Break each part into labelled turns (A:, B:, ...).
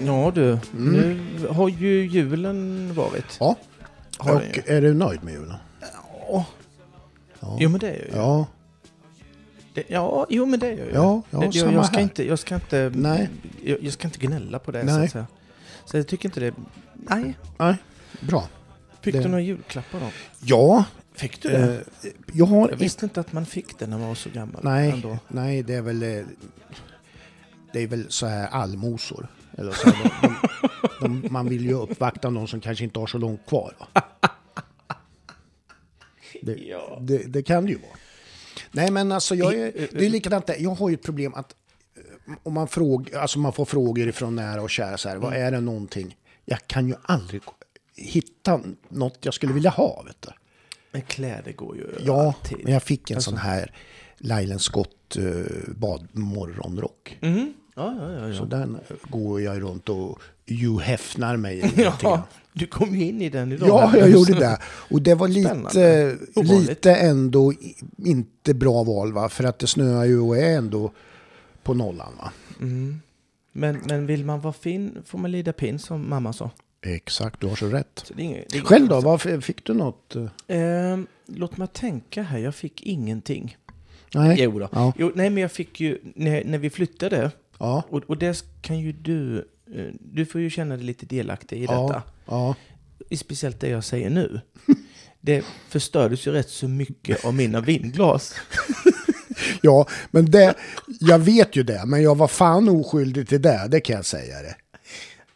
A: Ja du, nu har ju julen varit.
B: Mm. Ja.
A: Har den
B: Och är du nöjd med julen?
A: Ja. Jo men det är jag ju. Ja.
B: Ja,
A: Det, ja, jo men det är jag ju.
B: ja, ja
A: det, jag,
B: samma
A: jag, ska
B: här.
A: inte, jag, ska inte,
B: Nej.
A: jag, jag ska inte gnälla på det så
B: Nej.
A: att säga. Så jag tycker inte det. Nej.
B: Nej, bra.
A: Fick
B: Det-
A: du några julklappar då?
B: Ja,
A: Fick du det?
B: eh, jag har
A: jag
B: inte...
A: visste inte att man fick det när man var så gammal.
B: Nej,
A: Ändå.
B: nej, det är väl... eh, Det är väl så här allmosor. Eller så här, de, de, de, man vill ju uppvakta någon som kanske inte har så långt kvar. Va? Det,
A: Ja.
B: det, det kan det ju vara. Nej, men alltså jag är, det är likadant där. Jag har ju ett problem att eh, om man, fråg, alltså man får frågor ifrån nära och kära så här, vad
A: Mm.
B: är det någonting? Jag kan ju aldrig hitta något jag skulle vilja ha, vet du.
A: Men kläder går ju
B: Ja,
A: alltid.
B: men jag fick
A: alltså-
B: en sån här Lailen Scott eh, bad morgonrock.
A: Mhm. Ja, ja, ja.
B: Så
A: ja.
B: den eh, går jag runt och Hugh häfnar mig i lite grann.
A: ja du kom ju in i den idag.
B: Ja, jag gjorde det. Och det var lite, eh,
A: Spännande. Ovanligt.
B: lite ändå i- inte bra val, va? för att det snöar ju och är ändå på nollan. Va?
A: Men, men vill man vara fin får man lida pin som mamma sa.
B: Exakt, du har så rätt.
A: Så det är inget, det är inget
B: Själv då, varför, fick du något? eh?
A: Ehm, låt mig tänka här, jag fick ingenting.
B: Nej?
A: Jo då.
B: Ja.
A: Jo, nej, men jag fick ju, när, när vi flyttade,
B: Ja.
A: och, och det kan ju du, eh, du får ju känna dig lite delaktig i
B: Ja.
A: detta.
B: ja.
A: I Speciellt det jag säger nu. Det förstördes ju rätt så mycket av mina vinglas.
B: Ja, men det, jag vet ju det, men jag var fan oskyldig till det, det kan jag säga det.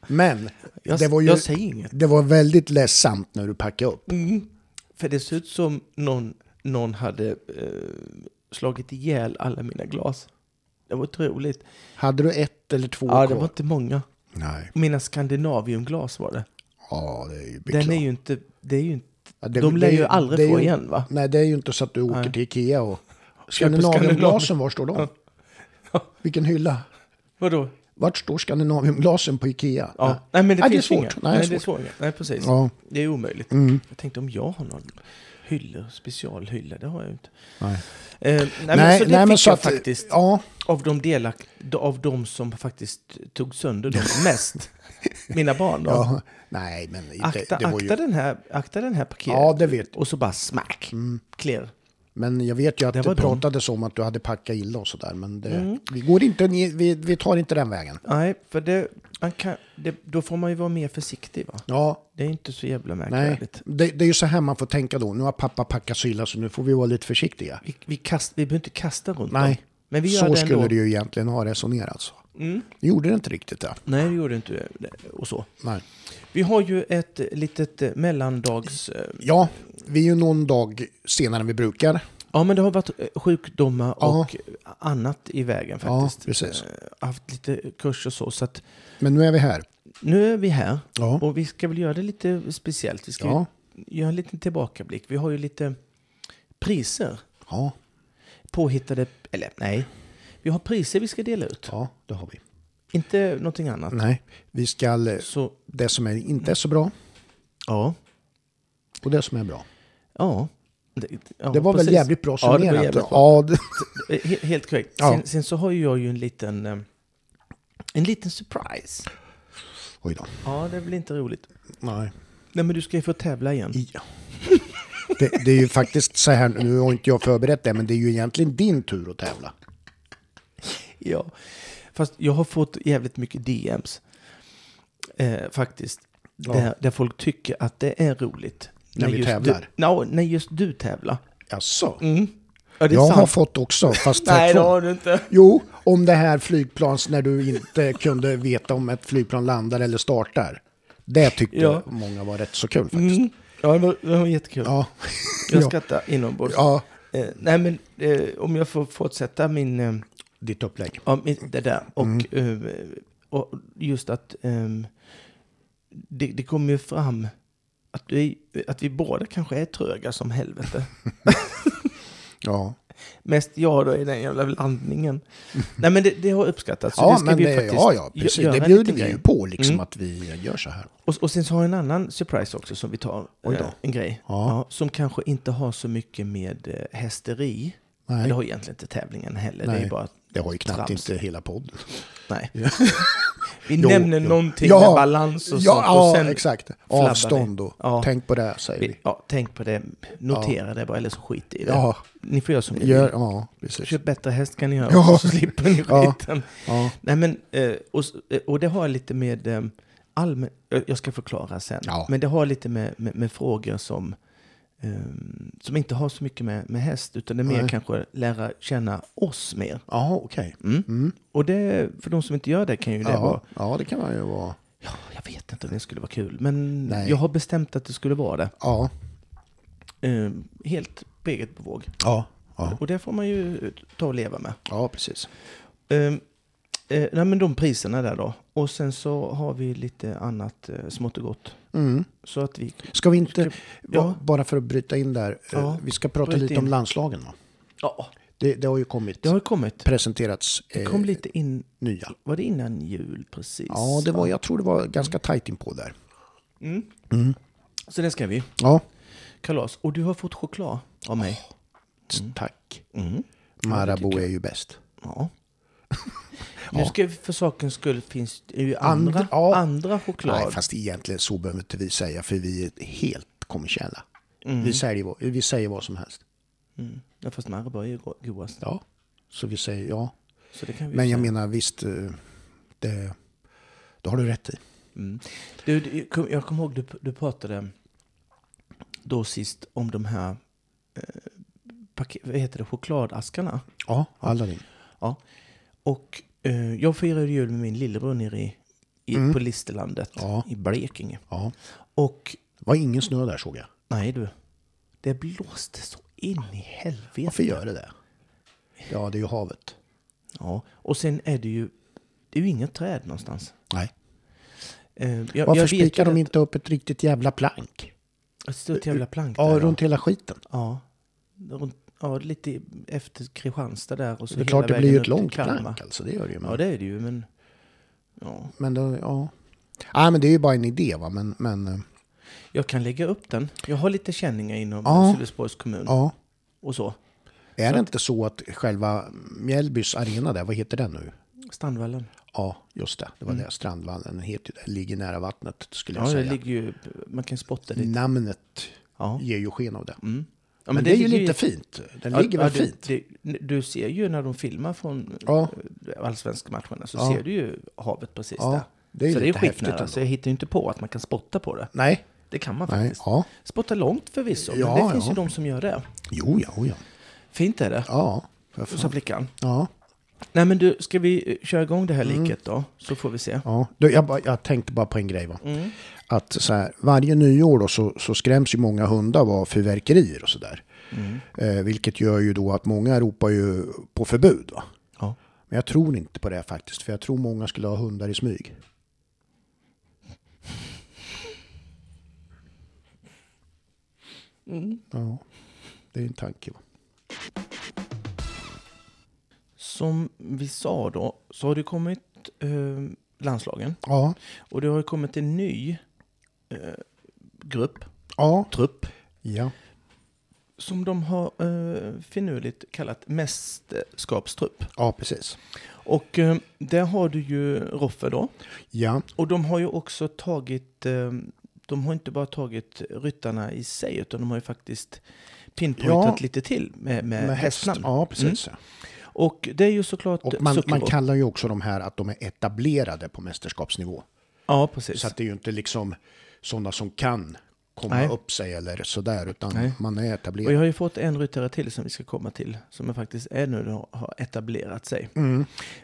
B: Men
A: Jag,
B: det, var ju,
A: jag säger inget.
B: det var väldigt ledsamt när du packade upp.
A: Mm. För det ser ut som någon, någon hade eh, slagit ihjäl alla mina glas. Det var otroligt.
B: Hade du ett eller två
A: Ja, det
B: kvar?
A: var inte många.
B: Nej,
A: Mina Skandinaviumglas var det.
B: ja det är ju
A: Den är
B: beklagligt.
A: ju inte, det är ju inte,
B: Ja, det-
A: de
B: det
A: lär
B: är
A: ju aldrig
B: det är
A: få
B: ju-
A: igen va?
B: Nej, det är ju inte så att du åker
A: Nej.
B: till Ikea och...
A: Köper
B: Skandinaviumglasen, var står de?
A: Ja.
B: Vilken hylla?
A: Vadå?
B: Vart står Skandinaviumglasen på Ikea?
A: Ja. Nej men det
B: Nej, det är
A: finns
B: svårt.
A: inga.
B: Nej, det är
A: Nej, det är svårt. Nej precis.
B: Ja,
A: Det är omöjligt.
B: Mm.
A: Jag tänkte om jag har någon hylla, specialhylla, det har jag ju inte.
B: Nej.
A: Eh, nej, men så det fick jag faktiskt.
B: Ja,
A: Av de, delak, av de som faktiskt tog sönder dem mest. Mina barn då.
B: ja. Nej, men det,
A: Akta,
B: det var ju...
A: akta, den här, akta den här parkeringen.
B: Ja, Mm. det vet
A: Och så bara smack. Klirr.
B: Men jag vet ju att
A: Det
B: det,
A: var Mm. dem.
B: pratades om att du hade packat illa och sådär. Men det, vi, går inte, ni- vi, vi tar inte den vägen.
A: Nej, för det, man kan, det, då får man ju vara mer försiktig va?
B: Ja,
A: Det är inte så jävla
B: nej.
A: märkvärdigt.
B: Det, det är ju så här man får tänka då. Nu har pappa packat så illa så nu får vi vara lite försiktiga.
A: Vi, vi, kast, vi behöver inte kasta runt
B: Nej,
A: dem. Men vi gör
B: så
A: det
B: skulle
A: ändå.
B: det ju egentligen ha resonerat. Så.
A: Mm.
B: Det gjorde det inte riktigt det.
A: Nej, det gjorde inte det. Och så.
B: Nej.
A: Vi har ju ett litet eh, mellandags... eh,
B: Ja, vi är ju någon dag senare än vi brukar.
A: Ja, men det har varit eh, sjukdomar
B: Ja.
A: och annat i vägen
B: Ja,
A: faktiskt.
B: precis.
A: Eh, Haft lite kurser och så. Så att
B: Men nu är vi här.
A: nu är vi här.
B: Ja,
A: Och vi ska väl göra det lite speciellt. Vi ska
B: ja,
A: ju göra en liten tillbakablick. Vi har ju lite priser
B: ja,
A: påhittade, eller nej, vi har priser vi ska dela ut.
B: ja det har vi.
A: Inte någonting annat.
B: Nej, vi ska
A: Så,
B: det som är inte är så bra
A: ja.
B: och det som är bra.
A: Ja. Det, ja,
B: Det var
A: precis.
B: väl jävligt bra
A: Ja, det var
B: summerat?
A: jävligt bra.
B: Ja, det-
A: Eh, he- Helt korrekt.
B: Ja.
A: Sen, sen så har ju jag ju en liten... eh, En liten surprise.
B: Oj då.
A: Ja, det blir inte roligt.
B: Nej.
A: Nej, men du ska ju få tävla igen.
B: Ja. Det, det är ju faktiskt så här, nu har inte jag förberett det, men det är ju egentligen din tur att tävla.
A: Ja. Fast jag har fått jävligt mycket DMs. Eh, faktiskt.
B: Ja.
A: Där, där folk tycker att det är roligt.
B: När vi
A: just
B: tävlar.
A: Du, no, när just du tävlar.
B: Jaså?
A: Mm. Ja, det är
B: Jag har
A: sant.
B: fått också, fast
A: Nej, det
B: tvärtom.
A: har du inte.
B: Jo, om det här flygplans, när du inte kunde veta om ett flygplan landar eller startar. Det tyckte
A: Ja.
B: många var rätt så kul faktiskt.
A: Mm. Ja, det var, det var jättekul.
B: Ja.
A: Jag
B: Ja.
A: skrattar inombords.
B: ja,
A: Eh, nej, men eh, om jag får fortsätta min... Eh,
B: ditt upplägg.
A: Ja, men det där. Och,
B: Mm.
A: eh, och just att ehm, det, det kommer ju fram att vi, att vi båda kanske är tröga som helvete.
B: Ja,
A: Mest jag då i den jävla landningen. Nej men det, det har uppskattats. Så det
B: ja
A: ska
B: men
A: vi
B: det,
A: faktiskt
B: ja, ja,
A: gö-
B: precis.
A: göra
B: Det
A: en
B: bjuder
A: liten
B: vi
A: grej.
B: ju på, liksom
A: Mm.
B: att vi gör så här.
A: Och, och sen så har jag en annan surprise också som vi tar.
B: Oj då.
A: eh, en grej.
B: Ja.
A: som kanske inte har så mycket med eh, hästeri.
B: Nej.
A: Men Det har egentligen inte tävlingen heller. Det
B: Nej.
A: är bara
B: Det har ju knappt
A: Trams.
B: inte hela podden.
A: Nej. Vi
B: Jo,
A: nämner
B: jo.
A: någonting
B: Ja,
A: med balans och
B: ja,
A: sånt.
B: ja
A: och sen,
B: exakt.
A: flabbar vi.
B: Avstånd då.
A: Ja.
B: Tänk på det, här, säger vi.
A: Ja, tänk på det. Notera det bara, eller så skit i det.
B: Ja,
A: Ni får göra som ni vill.
B: gör, ja precis.
A: Köp bättre häst kan ni göra,
B: Ja.
A: så slipper ni
B: Ja.
A: skiten.
B: Ja,
A: Nej, men, eh, och, s- eh, och det har lite med eh, allmän... eh, Jag ska förklara sen.
B: Ja.
A: Men det har lite med, med, med frågor som, ehm, som inte har så mycket med, med häst, utan det är mer
B: Nej.
A: kanske lära känna oss mer.
B: ja okej.
A: Mm.
B: Mm.
A: Och det, för de som inte gör det kan ju det vara...
B: Ja, ja, det kan man ju vara.
A: Ja, jag vet inte om det skulle vara kul, men
B: Nej.
A: jag har bestämt att det skulle vara det.
B: Ja,
A: Ehm, helt på eget bevåg.
B: ja, ja,
A: Och det får man ju ta och leva med.
B: ja precis.
A: Ehm, eh, nej, men de priserna där då. Och sen så har vi lite annat eh, smått och gott.
B: Mm.
A: Så att vi...
B: Ska vi inte,
A: Ja.
B: ba- bara för att bryta in där, eh,
A: Ja,
B: vi ska prata
A: bryt
B: lite
A: in.
B: om landslagen. Va?
A: Ja,
B: Det, det har ju kommit,
A: det har ju kommit.
B: presenterats
A: Det
B: eh,
A: kom lite in...
B: nya.
A: Var det innan jul precis?
B: Ja, det var, jag tror det var ganska tajt inpå där.
A: Mm. Så det ska vi.
B: Ja,
A: Kalas. Och du har fått choklad av mig.
B: tack.
A: Mm.
B: Marabou är ju bäst.
A: Ja. Nu ska vi, för sakens skull finns det ju
B: And-
A: andra,
B: ja.
A: andra choklad.
B: Nej, fast egentligen så behöver inte vi säga, för vi är helt kommersiella. Vi, säljer, vad- vi säger vad som helst.
A: Mm. Ja, fast Marabou är ju go- godast.
B: Ja. Så vi säger ja.
A: Så det kan vi
B: Men
A: säga.
B: jag menar visst, eh, det, det har du rätt i.
A: Mm. Du, du, kom- jag kommer ihåg du, du pratade då sist om de här eh, paket, vad heter det, chokladaskarna.
B: Ja, Aladdin.
A: Ja. Och eh, jag firade jul med min lillebror nere i, i, på Listerlandet
B: Mm. Ja.
A: i Blekinge.
B: Ja.
A: Och
B: Det var ingen snö där såg jag.
A: nej du, det blåste så in i helvete.
B: Varför gör det det? Ja, det är ju havet.
A: Ja. Och sen är det ju, det är ju inga träd någonstans.
B: Nej.
A: Eh, jag,
B: Varför
A: jag vet ju
B: spikar de
A: att-
B: inte upp ett riktigt jävla plank?
A: Ett stort jävla plank
B: Ja,
A: där,
B: runt hela skiten.
A: Ja. Runt, ja, lite efter Kristianstad där. Och så
B: Det är
A: hela
B: klart det
A: vägen
B: blir ju
A: upp
B: ett
A: till
B: långt
A: Kalmar.
B: plank alltså, det gör det ju. Men,
A: Ja, det är det ju, men... Ja.
B: men då, ja. Ja, men det är ju bara en idé va, men, men eh,
A: Jag kan lägga upp den. Jag har lite känningar inom
B: Ja.
A: Sölvesborgs kommun
B: ja.
A: och så.
B: Är det inte så att själva Mjällbys arena där, vad heter den nu?
A: Strandvallen.
B: Ja, just det. Det var det. Strandvallen den heter ju det. Ligger nära vattnet skulle jag
A: Mm. Ja, det
B: säga.
A: ligger ju... Man kan spotta lite.
B: Namnet
A: Ja.
B: ger ju sken av det.
A: Mm. Ja,
B: men, det är ju
A: ligger
B: lite fint. Den
A: Ja,
B: ligger väl
A: ja, du,
B: fint?
A: Det, du ser ju när de filmar från
B: Ja.
A: eh, allsvenska matcherna så
B: Ja.
A: ser du ju havet precis
B: Ja,
A: där.
B: det är ju
A: så det är
B: lite häftigt
A: skitnära, alltså.
B: ändå.
A: så jag hittar ju inte på att man kan spotta på det.
B: Nej.
A: Det kan man
B: Nej.
A: faktiskt.
B: Ja.
A: Spotta långt förvisso,
B: Ja,
A: men det finns
B: ja.
A: ju de som gör det.
B: Jo, ja, jo, ja.
A: Fint är det,
B: Ja. för
A: sa
B: fan.
A: flickan.
B: Ja.
A: Nej men du, ska vi eh, köra igång det här
B: Mm.
A: liket då? Så får vi se.
B: ja. Du, jag, bara- jag tänkte bara på en grej. Va?
A: Mm.
B: Att så här, varje nyår då, så, så skräms ju många hundar av fyrverkerier och sådär.
A: Mm.
B: Eh, vilket gör ju då att många ropar ju på förbud. Va?
A: Ja.
B: Men jag tror inte på det faktiskt, för jag tror många skulle ha hundar i smyg. Ja, det är en tanke. va?
A: Som vi sa då, så har det kommit eh, landslagen.
B: Ja,
A: Och det har ju kommit en ny eh, grupp,
B: ja,
A: trupp,
B: ja.
A: som de har eh, finurligt kallat mästerskapstrupp.
B: Ja, precis.
A: Och eh, där har du ju Roffe då.
B: Ja,
A: Och de har ju också tagit, eh, de har inte bara tagit ryttarna i sig, utan de har ju faktiskt pinpointat
B: Ja.
A: lite till med, med,
B: med häst.
A: hästnamn.
B: Ja, precis.
A: Mm. Och det är ju såklart
B: Och man, man
A: Zuckerberg.
B: kallar ju också de här att de är etablerade på mästerskapsnivå.
A: Ja, precis.
B: Så att det är ju inte liksom sådana som kan komma
A: Nej.
B: upp sig eller sådär, utan
A: Nej.
B: man är
A: Och jag
B: etablerad.
A: har ju fått en ryttare till som vi ska komma till, som jag faktiskt ännu då har etablerat sig.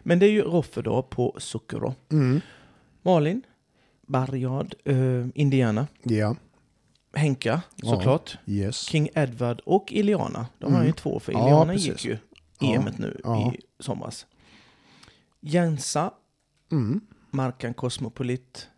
A: Men det är ju Roffe då på Zuckerberg.
B: Mm.
A: Malin, Barjard, eh, Indiana,
B: Ja,
A: Henka
B: Ja.
A: såklart,
B: yes.
A: King Edward och Iliana. De har ju två, för
B: Mm. Ja,
A: Iliana gick
B: precis.
A: ju
B: Ja.
A: EMet nu
B: Ja.
A: i somras. Jensa,
B: Mm.
A: Markan Cosmopolit,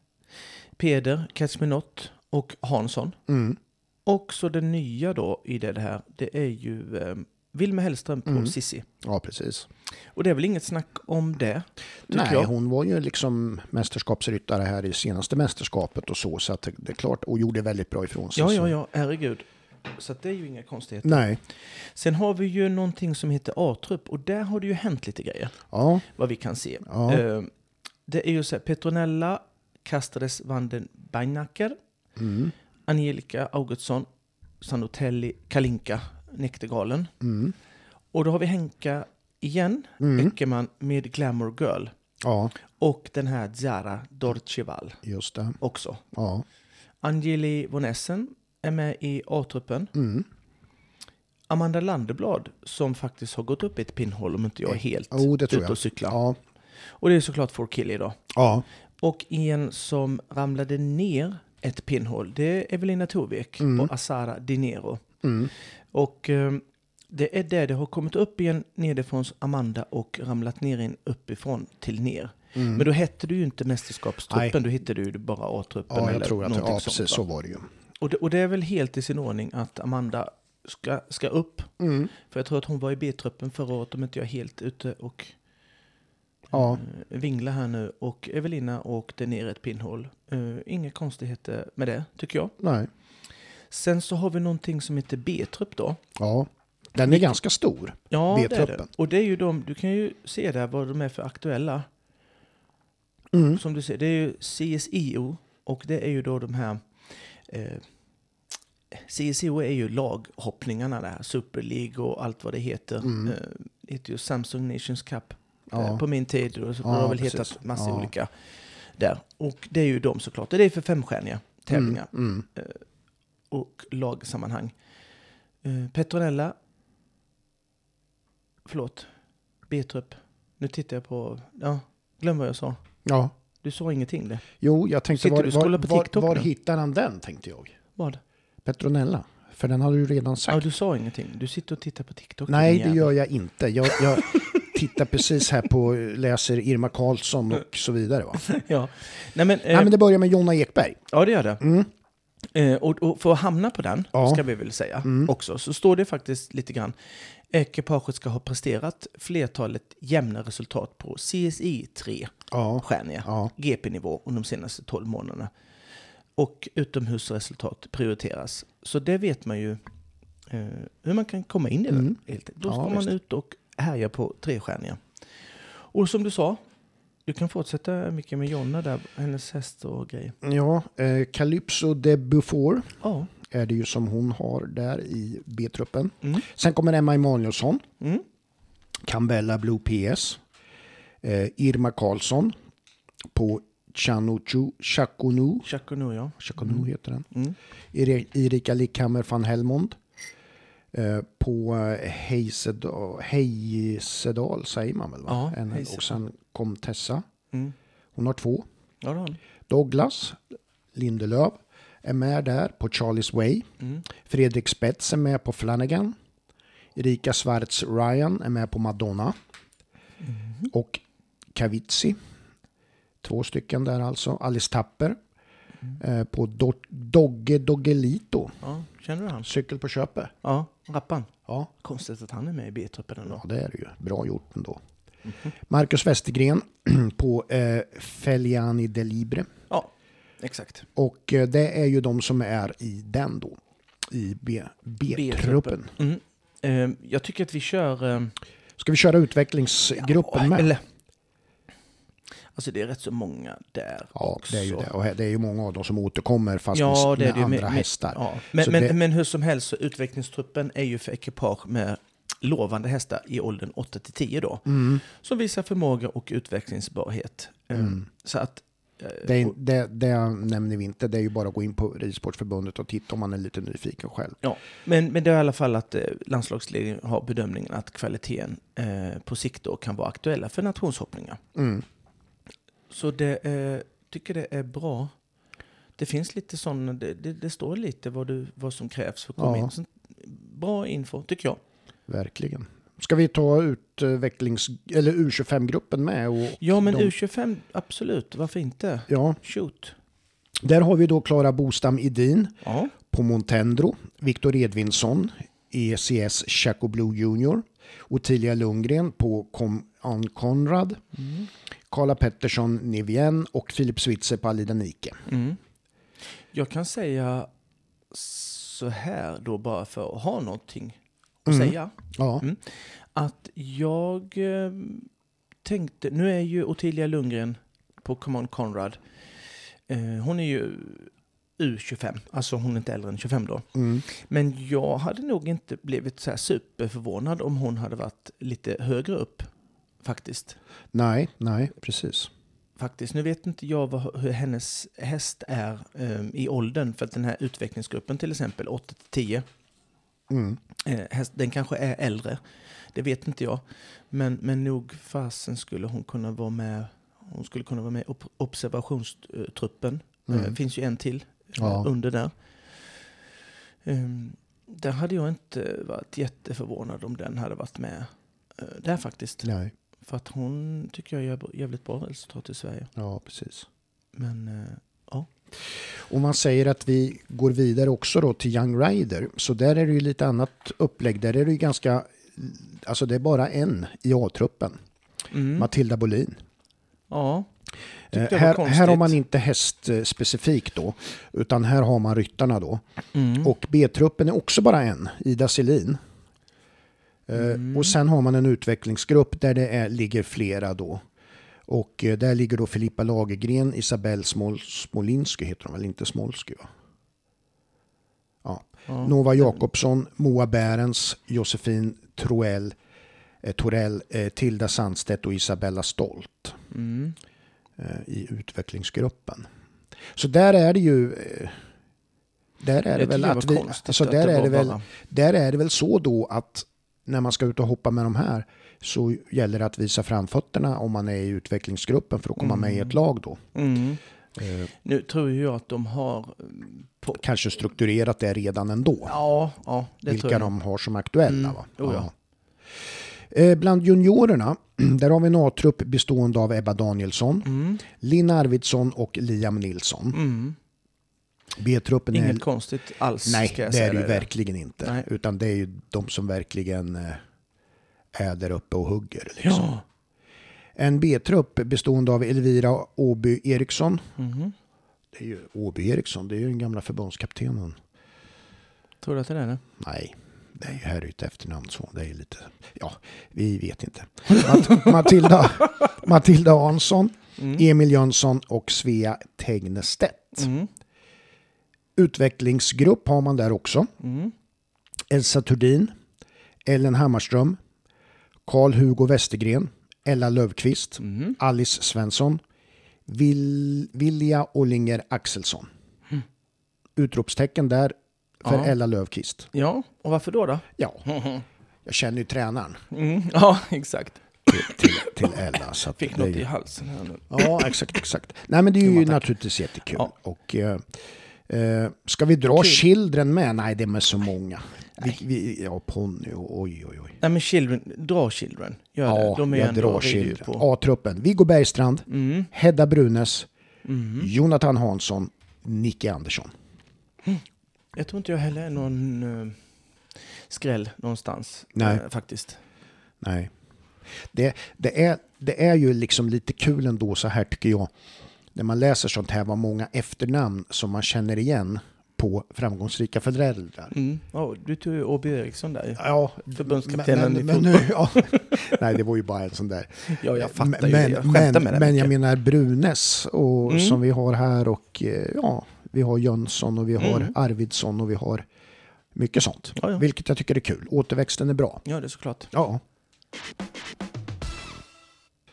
A: Peder, Catch Me Not och Hansson.
B: Mm.
A: Och så det nya då i det här, det är ju eh, Wilmer Hellström på
B: Mm.
A: Sissi.
B: Ja, precis.
A: Och det är väl inget snack om det, tycker
B: Nej,
A: jag.
B: hon var ju liksom mästerskapsryttare här i senaste mästerskapet och så, så att det- det är klart, och gjorde väldigt bra ifrån sig.
A: Ja,
B: så-
A: ja, ja, herregud. Så att det är ju inga konstigheter.
B: Nej,
A: Sen har vi ju någonting som heter A-trupp och där har det ju hänt lite grejer,
B: ja,
A: vad vi kan se.
B: Ja.
A: Eh, det är ju så här, Petronella Castres van den Beinacker,
B: Mm.
A: Angelica Augustsson, Sanotelli, Kalinka, Näktergalen.
B: Mm.
A: Och då har vi Henka igen,
B: Mm.
A: Öckerman med Glamour Girl.
B: Ja,
A: Och den här Zara Dorcheval
B: just det.
A: också.
B: Ja.
A: Angeli von Essen är med i A-truppen.
B: Mm.
A: Amanda Landeblad som faktiskt har gått upp i ett pinnhål om inte jag är helt
B: Jo, det tror
A: ute
B: jag.
A: och cyklar.
B: Ja.
A: Och det är såklart Four Killy då.
B: Ja.
A: Och en som ramlade ner ett pinnhål, det är Evelina Torvek och Asara Dinero.
B: Mm.
A: Och eh, det är där det har kommit upp igen nerifrån Amanda och ramlat ner in uppifrån till ner. Men då hette du ju inte mästerskapstruppen,
B: Mm. Nej.
A: då hittade du bara A-truppen.
B: ja,
A: eller
B: jag tror att det,
A: någonting
B: ja,
A: sånt,
B: precis
A: va?
B: så var det ju.
A: Och det, och det är väl helt i sin ordning att Amanda ska, ska upp.
B: Mm.
A: För jag tror att hon var i B-truppen förra året om inte jag är helt ute och
B: Ja.
A: eh, vinglar här nu. Och Evelina åkte ner ett pinnhål. Eh, inga konstigheter med det, tycker jag.
B: Nej.
A: Sen så har vi någonting som heter B-trupp då.
B: Ja. Den är ganska stor.
A: Ja, det är det.
B: B-truppen.
A: Och det är ju de, du kan ju se där vad de är för aktuella.
B: Mm.
A: Som du ser, det är ju CSIO och det är ju då de här... Eh, CSIO är ju laghoppningarna där, Super League och allt vad det heter.
B: Mm.
A: Eh, det heter ju Samsung Nations Cup
B: Ja.
A: eh, på min tid och så
B: Ja,
A: har det väl
B: precis.
A: hetat massa
B: Ja.
A: olika där. Och det är ju de såklart, det är för femstjärniga tävlingar
B: Mm. Mm.
A: och lagsammanhang. Eh, Petronella. Förlåt. B-trupp. Nu tittar jag på... Ja, glöm vad jag sa.
B: Ja.
A: Du sa ingenting det.
B: Jo, jag tänkte
A: Sitter
B: var,
A: du och scrollar
B: var,
A: på
B: var,
A: TikTok
B: var
A: nu?
B: hittar han den tänkte jag.
A: Vad?
B: Petronella. För den har du ju redan sagt.
A: Ja, du sa ingenting. Du sitter och tittar på TikTok.
B: Nej,
A: din
B: det
A: jävel.
B: gör jag inte. Jag, jag tittar precis här på, läser Irma Karlsson och så vidare. Va?
A: Ja. Nej, men, eh,
B: Nej, men det börjar med Jonna Ekberg. Mm.
A: Ja, det gör det. Eh, och, och för att hamna på den,
B: Ja. Mm.
A: ska vi väl säga också, så står det faktiskt lite grann. Ekipaget ska ha presterat flertalet jämna resultat på CSI 3.
B: Ja.
A: stjärniga
B: Ja.
A: GP-nivå under de senaste 12 månaderna. Och utomhusresultat prioriteras. Så det vet man ju eh, hur man kan komma in i den. Helt. Då
B: Mm. Ja,
A: ska man
B: visst.
A: ut och härja på trestjärniga. Och som du sa, du kan fortsätta mycket med Jonna där, hennes häst och grejer.
B: ja eh, Calypso de Beaufort
A: Ja,
B: är det ju som hon har där i B-truppen.
A: Mm.
B: Sen kommer Emma Emanuelsson,
A: mm.
B: Cambella Blue PS, eh, Irma Karlsson på Chanuchu Chaconu.
A: Chuck och nu ja.
B: Chaconu heter den.
A: Mm.
B: Iri- Erika Lickhammer van Helmond. Eh, på eh, Heisedal, Heisedal säger man väl? Va?
A: Ja,
B: en,
A: Heisedal.
B: och sen kom Tessa.
A: Mm.
B: Hon har två.
A: Ja, det har han.
B: Douglas Lindelöf är med där på Charlie's Way.
A: Mm.
B: Fredrik Spets är med på Flanagan. Erika Schwartz Ryan är med på Madonna. Och Cavizzi. Två stycken där alltså. Alice Tapper. Eh, på Do- Dogge Doggelito.
A: Ja, känner du han?
B: Cykel på köpet.
A: Ja, Rappan.
B: Ja.
A: Konstigt att han är med i B-truppen ändå.
B: ja, det är det ju. Bra gjort ändå. Marcus Westergren på eh, Feliani Delibre.
A: Ja, exakt.
B: Och eh, det är ju de som är i den då. I B- B-truppen.
A: Mm. Eh, jag tycker att vi kör... ehm,
B: Ska vi köra utvecklingsgruppen med?
A: Eller, alltså det är rätt så många där
B: Ja,
A: också.
B: det är ju det. Och här- det är ju många av dem som återkommer fast
A: Ja,
B: med,
A: det är
B: med
A: det ju.
B: andra
A: Men- men-
B: hästar.
A: Ja. Men,
B: Så
A: men,
B: det-
A: men hur som helst, så utvecklingstruppen är ju för ekipage med lovande hästar i åldern 8 till 10 då.
B: Mm.
A: Som visar förmåga och utvecklingsbarhet. Eh, Så att... eh,
B: Mm. Det, är- det, det nämner vi inte. Det är ju bara att gå in på Ridsportförbundet och titta om man är lite nyfiken själv.
A: Ja, men, men det är i alla fall att eh, landslagsledningen har bedömningen att kvaliteten eh, på sikt då kan vara aktuella för nationshoppningar.
B: Mm.
A: Så det eh, tycker det är bra. Det finns lite sådana, det, det, det står lite vad, du, vad som krävs för att komma
B: Ja.
A: in. Så, bra info tycker jag.
B: Verkligen. Ska vi ta utvecklings... Eller U25-gruppen med? Och
A: Ja men
B: de-
A: U25, absolut, varför inte?
B: Ja,
A: Shoot.
B: där har vi då Klara Bostam Idin
A: Ja,
B: på Montendro, Viktor E Edvinsson, ECS Chaco Blue Junior, Ottilia Lundgren på Com on Conrad,
A: Mm.
B: Carla Pettersson Nivien och Filip Switzer på Aliden Ike.
A: Mm. jag kan säga så här då bara för att ha någonting att säga.
B: Ja,
A: Mm. ehm, Att jag eh, tänkte, nu är ju Ottilia Lundgren på Come On Conrad. Eh, hon är ju U25, alltså hon är inte äldre än 25 då.
B: Mm.
A: Men jag hade nog inte blivit så här superförvånad om hon hade varit lite högre upp faktiskt.
B: Nej, nej, precis.
A: Faktiskt, nu vet inte jag vad, hur hennes häst är eh, i åldern för att den här utvecklingsgruppen till exempel 8 till 10
B: Mm.
A: Eh, häst, den kanske är äldre, det vet inte jag. Men, men nog fasen skulle hon kunna vara med. Hon skulle kunna vara med i op- observationstruppen.
B: Mm.
A: Eh, finns ju en till eh,
B: Ja.
A: under där. Ehm, där hade jag inte varit jätteförvånad om den hade varit med eh, där faktiskt.
B: Nej,
A: För att hon tycker jag gör jävligt bra resultat i Sverige.
B: ja, precis.
A: Men eh,
B: Och man säger att vi går vidare också då till Young Rider. Så där är det ju lite annat upplägg. Där är det ju ganska, alltså det är bara en i A-truppen.
A: mm,
B: Matilda Bolin.
A: ja, Tyckte jag
B: Eh,
A: var
B: här,
A: konstigt.
B: här har man inte häst eh, specifikt då, utan här har man ryttarna då.
A: mm,
B: Och B-truppen är också bara en, Ida Selin. Eh,
A: Mm.
B: Och sen har man en utvecklingsgrupp där det är, ligger flera då. Och eh, där ligger då Filippa Lagergren, Isabelle Smol- Smolinski heter de väl, inte Smolsky va? Ja.
A: ja.
B: Nova Jakobsson, Moa Bärens, Josefin Troell, eh, Torell, eh, Tilda Sandstedt och Isabella Stolt
A: Mm,
B: eh, i utvecklingsgruppen. Så där är det ju... eh, Där är det
A: jag
B: väl
A: tyckte det
B: att
A: var
B: vi...
A: konstigt
B: Alltså
A: att
B: där, är
A: var
B: det väl,
A: bara-
B: där är det väl så då att när man ska ut och hoppa med de här så gäller det att visa framfötterna om man är i utvecklingsgruppen för att komma med i ett lag då.
A: Mm.
B: Eh,
A: Nu tror ju jag att de har... mm, På,
B: Kanske strukturerat det redan ändå.
A: ja, ja, det tror
B: vilka
A: jag.
B: de har som aktuella.
A: Mm,
B: Va?
A: jo ja.
B: Eh, Bland juniorerna, där har vi en A-trupp bestående av Ebba Danielsson,
A: Mm,
B: Linn Arvidsson och Liam Nilsson.
A: mm.
B: B-truppen är...
A: Inget konstigt alls.
B: Nej,
A: ska jag
B: det
A: säga
B: är det ju
A: dig.
B: verkligen inte.
A: Nej.
B: Utan det är ju de som verkligen eh, är där uppe och hugger. Liksom.
A: Ja.
B: En B-trupp bestående av Elvira Åby Eriksson.
A: Mhm.
B: Det är ju Åby Eriksson, det är ju den gamla förbundskaptenen.
A: Tror du att det är det?
B: Nej, det är ju Harryt efternamn så det är lite, ja, vi vet inte. Mat- Matilda, Matilda Hansson, Emil Jönsson och Svea Tegnestedt.
A: Mm.
B: Utvecklingsgrupp har man där också.
A: Mm.
B: Elsa Turdin, Ellen Hammarström, Karl-Hugo Westergren, Ella Löfqvist,
A: Mm.
B: Alice Svensson, Vil- Vilja Ollinger Axelsson. Utropstecken där för
A: Mm. Ja.
B: Ella Löfqvist.
A: Ja, och varför då? då?
B: Ja, jag känner ju tränaren.
A: Mm. Ja, exakt.
B: till, till, till Ella. Så att
A: Fick
B: det är
A: något
B: ju-
A: i halsen här nu.
B: Ja, exakt, exakt. Nej, men det är ju
A: Jo, tack.
B: naturligtvis jättekul.
A: Ja.
B: Och, eh, eh, ska vi dra
A: Kul.
B: Children med? Nej, det är med så många. Vi, vi, ja, Ponny och oj, oj, oj.
A: Nej, men Children, dra Children. Gör
B: Ja,
A: det. De är ju
B: jag
A: ändå
B: drar
A: vi är ju
B: Children.
A: På.
B: A-truppen. Viggo Bergstrand,
A: Mm.
B: Hedda Brunes,
A: Mm.
B: Jonathan Hansson, Nicky Andersson.
A: Jag tror inte jag heller är någon eh, skräll någonstans.
B: Nej.
A: eh, faktiskt.
B: Nej. Det, det, är, det är ju liksom lite kul ändå så här tycker jag. När man läser sånt här, vad många efternamn som man känner igen på framgångsrika föräldrar.
A: Mm. Ja, du tog ju Åby Eriksson där ju.
B: Ja,
A: Förbundskaptenen
B: men,
A: i
B: men, nu, ja. Nej, det var ju bara en sån där.
A: Ja, jag fattar ju
B: men,
A: det. Jag
B: men,
A: skämtar med det.
B: men jag
A: Micke.
B: menar Brunes och,
A: Mm.
B: som vi har här och eh, ja, vi har Jönsson och vi har
A: Mm.
B: Arvidsson och vi har mycket sånt.
A: Ja, ja.
B: Vilket jag tycker är kul. Återväxten är bra.
A: ja, det är såklart.
B: Ja,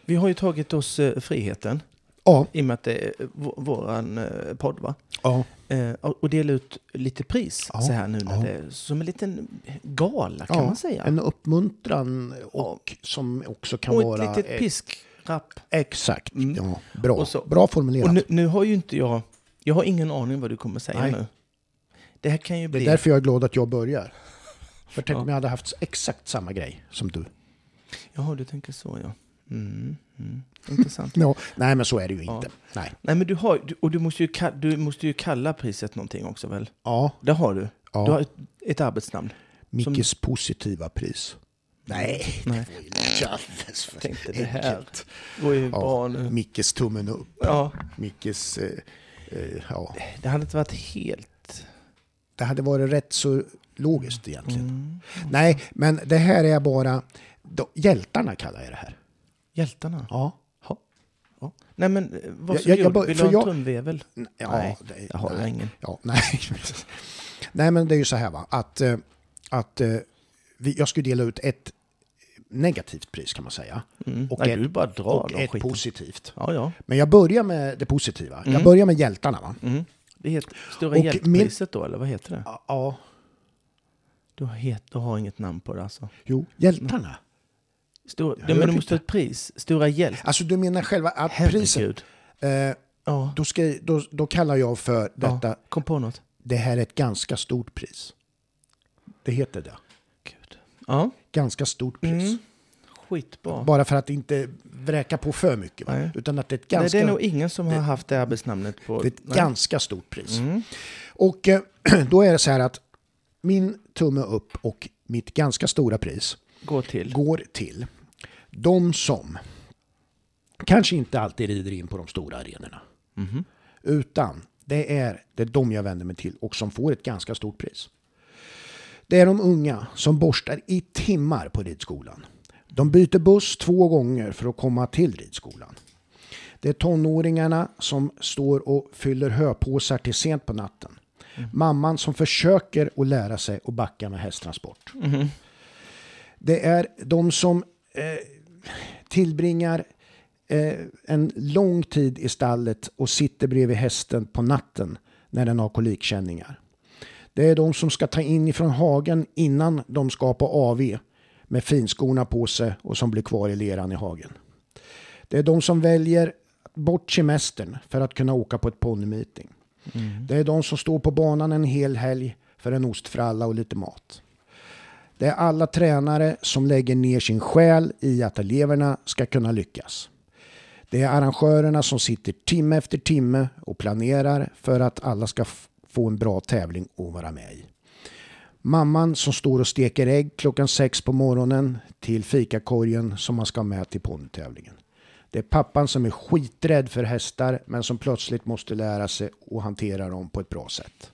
A: Vi har ju tagit oss eh, friheten,
B: ja,
A: i och med att det är v- våran eh, podd, va?
B: ja.
A: Eh, och och dela ut lite pris
B: Ja,
A: så här nu, när
B: ja.
A: det är som en liten gala kan
B: Ja,
A: man säga.
B: En uppmuntran och som också kan
A: och ett
B: vara...
A: litet piskrapp.
B: Exakt,
A: Mm.
B: ja, bra.
A: Och så-
B: bra formulerat.
A: Och nu, nu har ju inte jag, jag har ingen aning vad du kommer säga
B: Nej.
A: nu. Det här kan ju
B: det är
A: bli...
B: därför jag är glad att jag börjar. För tänk
A: Ja.
B: om jag hade haft exakt samma grej som du.
A: Jaha, du tänker så ja. Mm, mm. Intressant.
B: Ja, nej, men så är det ju
A: Ja.
B: inte. Nej.
A: Nej men du har du, och du måste, ju ka, du måste ju kalla priset någonting också väl?
B: Ja,
A: Det har du.
B: Ja.
A: Du har ett, ett arbetsnamn.
B: Mickes positiva pris. Nej,
A: Nej.
B: det var ju alldeles för
A: Tänkte det här
B: enkelt.
A: går ju bra
B: Ja, Mm.
A: nu.
B: Mickes tummen upp.
A: Ja,
B: Mickes... Eh, eh, ja.
A: det hade inte varit helt...
B: Det hade varit rätt så logiskt egentligen.
A: Mm.
B: Nej, men det här är bara... Då, hjältarna kallar jag det här.
A: Hjältarna?
B: Ja.
A: Ja. Ja. Nej, men eh, vad
B: Jag-
A: jag,
B: jag- jag bara-
A: Vill
B: för
A: du ha en
B: jag-
A: trumvevel?
B: Ja,
A: Nej,
B: det-
A: jag har
B: nej.
A: ingen.
B: Ja, nej. nej, men det är ju så här va, att, eh, att eh, vi, jag skulle dela ut ett negativt pris kan man säga.
A: Mm.
B: Och
A: Nej,
B: ett-
A: du bara drar
B: och
A: de
B: ett
A: skiten.
B: positivt.
A: Ja, ja.
B: Men jag börjar med det positiva. Jag börjar med hjältarna va?
A: Mm. Det heter Stora
B: Och
A: hjältepriset då, eller vad heter det?
B: Ja,
A: Du, het, du har inget namn på det alltså.
B: jo,
A: Mm.
B: hjältarna.
A: Stor,
B: Jag
A: du, men
B: hört
A: du måste ha ett pris. Stora hjält.
B: Alltså du menar själva att priset,
A: Herregud.
B: eh,
A: Ja.
B: då, ska, då, då kallar jag för detta,
A: ja. Kom på något.
B: det här är ett ganska stort pris. Det heter det.
A: Gud. Ja.
B: Ganska stort pris.
A: Mm. Skitbra.
B: Bara för att inte vräka på för mycket. Va?
A: Nej.
B: Utan att det är ett
A: Nej, det
B: ganska,
A: är nog ingen som har haft det arbetsnamnet på...
B: det är ett
A: Nej.
B: ganska stort pris.
A: Mm.
B: Och eh, då är det så här att min tumme upp och mitt ganska stora pris
A: Gå till.
B: går till de som kanske inte alltid rider in på de stora arenorna. Utan det är, det är de jag vänder mig till och som får ett ganska stort pris. Det är de unga som borstar i timmar på ridskolan. De byter buss två gånger för att komma till ridskolan. Det är tonåringarna som står och fyller höpåsar till sent på natten. Mamman som försöker att lära sig att backa med hästtransport. Det är de som eh, tillbringar eh, en lång tid i stallet och sitter bredvid hästen på natten när den har kolikkänningar. Det är de som ska ta in ifrån hagen innan de ska på AV med finskorna på sig och som blir kvar i leran i hagen. Det är de som väljer bort semestern för att kunna åka på ett ponnymeeting. Det är de som står på banan en hel helg för en ostfralla och lite mat. Det är alla tränare som lägger ner sin själ i att eleverna ska kunna lyckas. Det är arrangörerna som sitter timme efter timme och planerar för att alla ska f- få en bra tävling att vara med i. Mamman som står och steker ägg klockan sex på morgonen till fikakorgen som man ska ha med till ponnytävlingen. Det är pappan som är skiträdd för hästar men som plötsligt måste lära sig att hantera dem på ett bra sätt.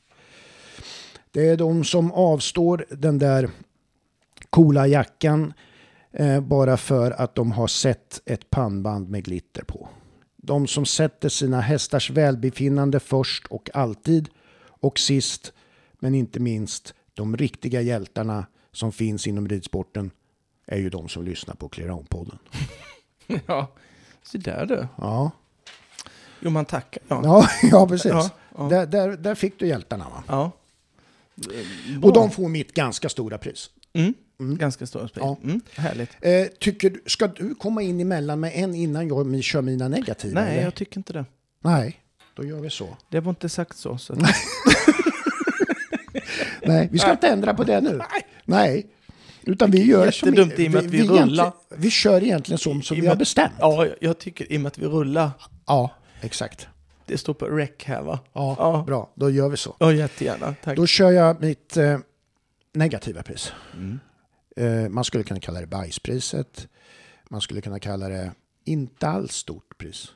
B: Det är de som avstår den där coola jackan eh, bara för att de har sett ett pannband med glitter på. De som sätter sina hästars välbefinnande först och alltid och sist men inte minst de riktiga hjältarna som finns inom ridsporten är ju de som lyssnar på Clear-On-podden.
A: Ja. Så där du.
B: Ja.
A: Jo, man tackar. Ja.
B: Ja, ja, precis.
A: Ja, ja.
B: Där, där, där fick du hjältarna. Va?
A: ja.
B: Och de får mitt ganska stora pris.
A: Mm. Ganska stora spel.
B: Ja.
A: Mm. Härligt.
B: Eh, tycker, du- ska du komma in emellan med en innan jag mi- kör mina negativa?
A: Nej,
B: eller?
A: jag tycker inte det.
B: Nej, då gör vi så.
A: Det var inte sagt så. så.
B: Nej, vi ska inte ändra på det nu. Nej. Utan vi gör som
A: Jättedumt i och med att vi rullar.
B: egentligen- Vi kör egentligen som, som
A: I och
B: vi
A: med-
B: har bestämt. Ja,
A: Ja, jag- jag tycker i och med att vi rullar.
B: exakt.
A: Det står på rec här va?
B: Ja,
A: Ja,
B: bra. Då gör vi så.
A: ja jättegärna. Tack.
B: Då kör jag mitt eh, negativa pris. Eh, man skulle kunna kalla det bajspriset. Man skulle kunna kalla det inte alls stort pris.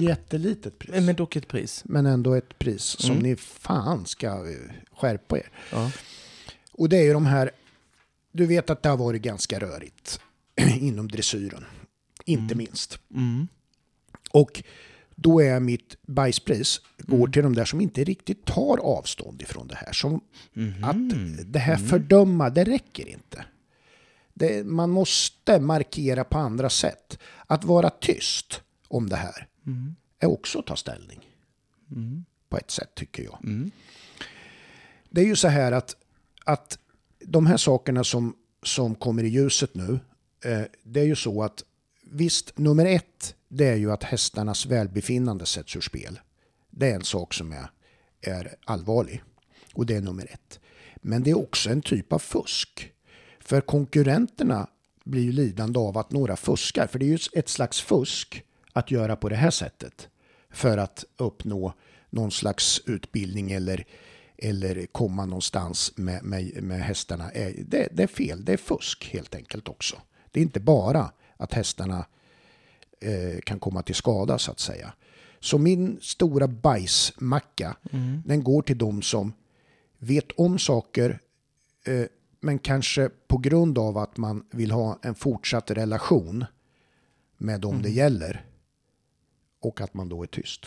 B: Jättelitet pris.
A: Mm. Men Mm. men dock ett pris.
B: men ändå ett pris som ni fan ska eh, skärpa er.
A: Ja.
B: Och det är ju de här, du vet att det har varit ganska rörigt inom dressyren, inte minst.
A: Mm.
B: Och då är mitt bajspris, går till de där som inte riktigt tar avstånd ifrån det här. Som
A: Mm.
B: att det här fördöma, det räcker inte. Det, man måste markera på andra sätt. Att vara tyst om det här är också att ta ställning. På ett sätt tycker jag. Det är ju så här att, att de här sakerna som, som kommer i ljuset nu, eh, det är ju så att visst, nummer ett, det är ju att hästarnas välbefinnande sätts ur spel. Det är en sak som är, är allvarlig och det är nummer ett. Men det är också en typ av fusk. För konkurrenterna blir ju lidande av att några fuskar. För det är ju ett slags fusk att göra på det här sättet. För att uppnå någon slags utbildning eller, eller komma någonstans med, med, med hästarna. Eh, Det, det är fel, det är fusk helt enkelt också. Det är inte bara att hästarna eh, kan komma till skada så att säga. Så min stora bajsmacka, den går till de som vet om saker, eh, men kanske på grund av att man vill ha en fortsatt relation med dem det gäller, och att man då är tyst.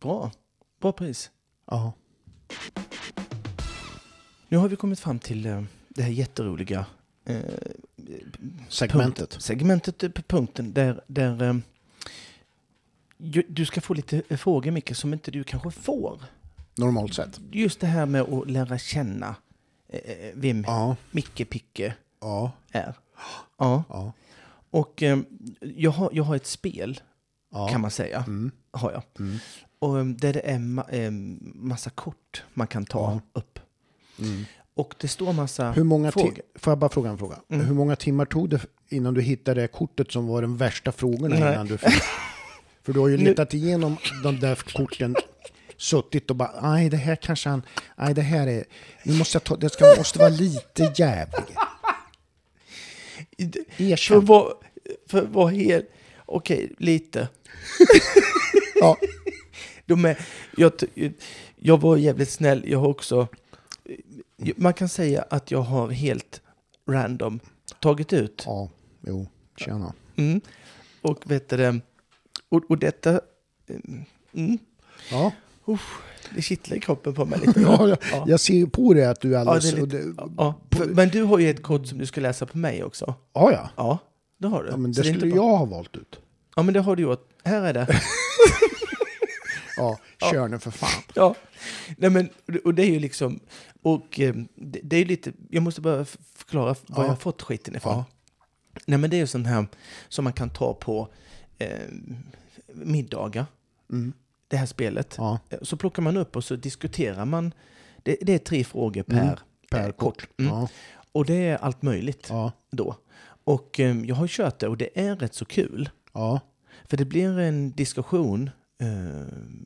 A: Bra. Bra pris.
B: Ja.
A: Nu har vi kommit fram till eh, det här jätteroliga eh,
B: Segmentet.
A: punkt- segmentet eh, på punkten där, där eh, ju- du ska få lite eh, frågor, Micke, som inte du kanske får.
B: Normalt sett.
A: Just det här med att lära känna eh, eh, vem
B: Ja.
A: Micke Picke
B: Ja.
A: är. Ja.
B: Ja.
A: Och eh, jag, har, jag har ett spel,
B: Ja.
A: kan man säga.
B: Mm.
A: Har jag.
B: Mm.
A: Och, eh, där det är ma- eh, massa kort man kan ta upp.
B: Mm.
A: Och det står massa
B: Hur många ti-
A: frågor.
B: Får jag bara fråga en fråga?
A: Mm.
B: Hur många timmar tog det innan du hittade det kortet som var den värsta frågorna
A: Nej.
B: innan du fick? För du har ju letat igenom de där korten, suttit och bara, nej det här kanske han, nej det här är, nu måste jag ta, det ska, måste vara lite jävlig.
A: För
B: Erkänn.
A: vad, för vad hel... Okej, lite.
B: Ja.
A: De är, jag, t- jag var jävligt snäll. Jag har också... Man kan säga att jag har helt random tagit ut.
B: ja, jo, tjena.
A: Mm. Och vet du det, och, och detta... Mm,
B: Ja.
A: usch, det kittlar i kroppen på mig lite.
B: Ja, jag- jag ser ju på det att du är
A: Ja,
B: alldeles...
A: det är
B: Ja,
A: lite, ja, för, men du har ju ett kod som du ska läsa på mig också.
B: ja, ja.
A: Ja, det har du.
B: ja men
A: Så
B: det
A: är inte
B: skulle
A: bara-
B: jag ha valt ut.
A: Ja, men det har du gjort. Här är det.
B: Ja, kör nu för fan.
A: Ja, Nej, men, och det är ju liksom... Och eh, det, det är ju lite... Jag måste bara f- förklara f- var
B: Ja.
A: jag har fått skiten ifrån.
B: Ja.
A: Nej, men det är ju sån här som man kan ta på eh, middagar.
B: Mm.
A: Det här spelet.
B: Ja,
A: Eh, Så plockar man upp och så diskuterar man. Det, det är tre frågor per,
B: Mm, per
A: eh, kort. Mm.
B: ja,
A: Och det är allt möjligt
B: ja,
A: då. Och eh, jag har kört det och det är rätt så kul.
B: ja.
A: För det blir en diskussion. eh,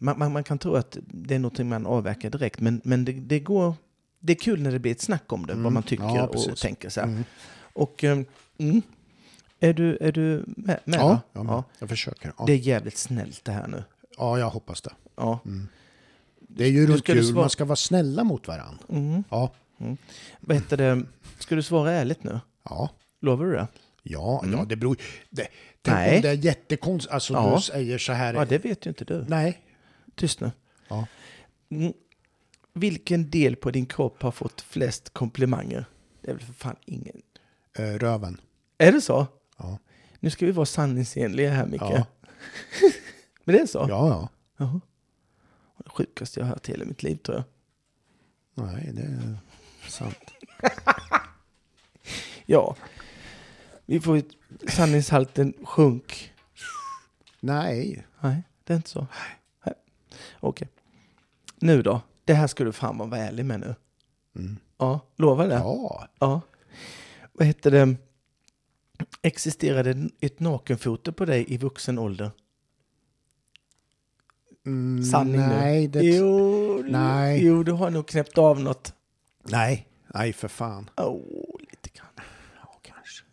A: man, man, man kan tro att det är någonting man avverkar direkt, men, men det, det går... Det är kul när det blir ett snack om det, vad man tycker
B: Mm. Ja,
A: och
B: precis.
A: tänker. Så här.
B: Mm.
A: Och, eh, mm, är, du, är du med? med
B: Ja,
A: då?
B: jag, med. jag försöker. Ja.
A: Det är jävligt snällt det här nu.
B: ja, jag hoppas det.
A: Ja.
B: Mm. Det är ju runt
A: ska du
B: jul,
A: svara-
B: man ska vara snälla mot varandra.
A: Mm.
B: Ja,
A: Vad heter det? Ska du svara ärligt nu?
B: ja,
A: Lovar du det?
B: ja, ja det beror det, Tänk
A: Mm. Nej.
B: om det är jättekonstigt, alltså
A: Ja.
B: du säger så här.
A: Ja, det vet ju inte du.
B: Nej,
A: Tyst nu.
B: Ja.
A: Mm. Vilken del på din kropp har fått flest komplimanger? Det är väl för fan ingen
B: eh, röven.
A: Är det så?
B: Ja.
A: Nu ska vi vara sanningsenliga här, Micke.
B: Ja.
A: Men det är så?
B: Ja, ja.
A: Jaha. Det sjukaste jag har hört i hela mitt liv, tror jag.
B: Nej, det är sant.
A: Ja. Vi får ju- sanningshalten sjunk.
B: Nej,
A: Nej, det är inte så. Nej. Okej. Nu då? Det här ska du fan vara ärlig med nu.
B: Mm.
A: Ja, lovar det?
B: ja,
A: Ja. Vad heter det? Existerade ett nakenfoto på dig i vuxen ålder?
B: mm,
A: Sanning nu.
B: nej, det,
A: Jo,
B: Nej.
A: jo, du har nog knäppt av något.
B: nej, nej för fan.
A: Åh, lite grann. Ja, kanske.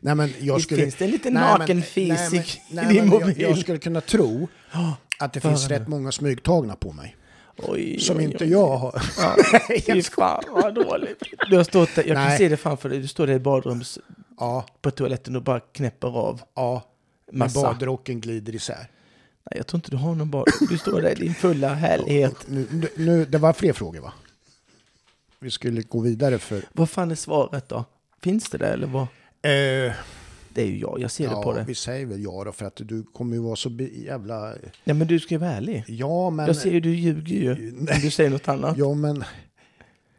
B: Nej, men jag
A: Visst
B: skulle,
A: finns det en liten
B: Nej, men-
A: naken
B: nej,
A: fisik
B: men-
A: i
B: nej,
A: din
B: men jag-
A: mobil?
B: Jag skulle kunna tro att det finns
A: Före.
B: rätt många smygtagna på mig.
A: Oj,
B: Som
A: oj,
B: inte
A: oj.
B: jag har.
A: Ja, fy fan vad dåligt. Du har stått där, jag kan
B: Nej.
A: se det framför dig. Du står där i badrums
B: Ja,
A: på toaletten och bara knäpper av
B: ja. Med
A: massa.
B: badrocken glider isär.
A: Nej, jag tror inte du har någon bad. Du står där i din fulla härlighet.
B: Nu, nu, nu, det var fler frågor va? Vi skulle gå vidare för...
A: Vad fan är svaret då? Finns det där eller vad?
B: Eh,
A: Det är ju jag, jag ser det på
B: ja,
A: det.
B: vi säger väl ja då för att du kommer ju vara så be- jävla...
A: Nej, men du ska ju vara ärlig.
B: Ja men...
A: Jag ser ju, du ljuger ju. Om du säger något annat.
B: Ja men...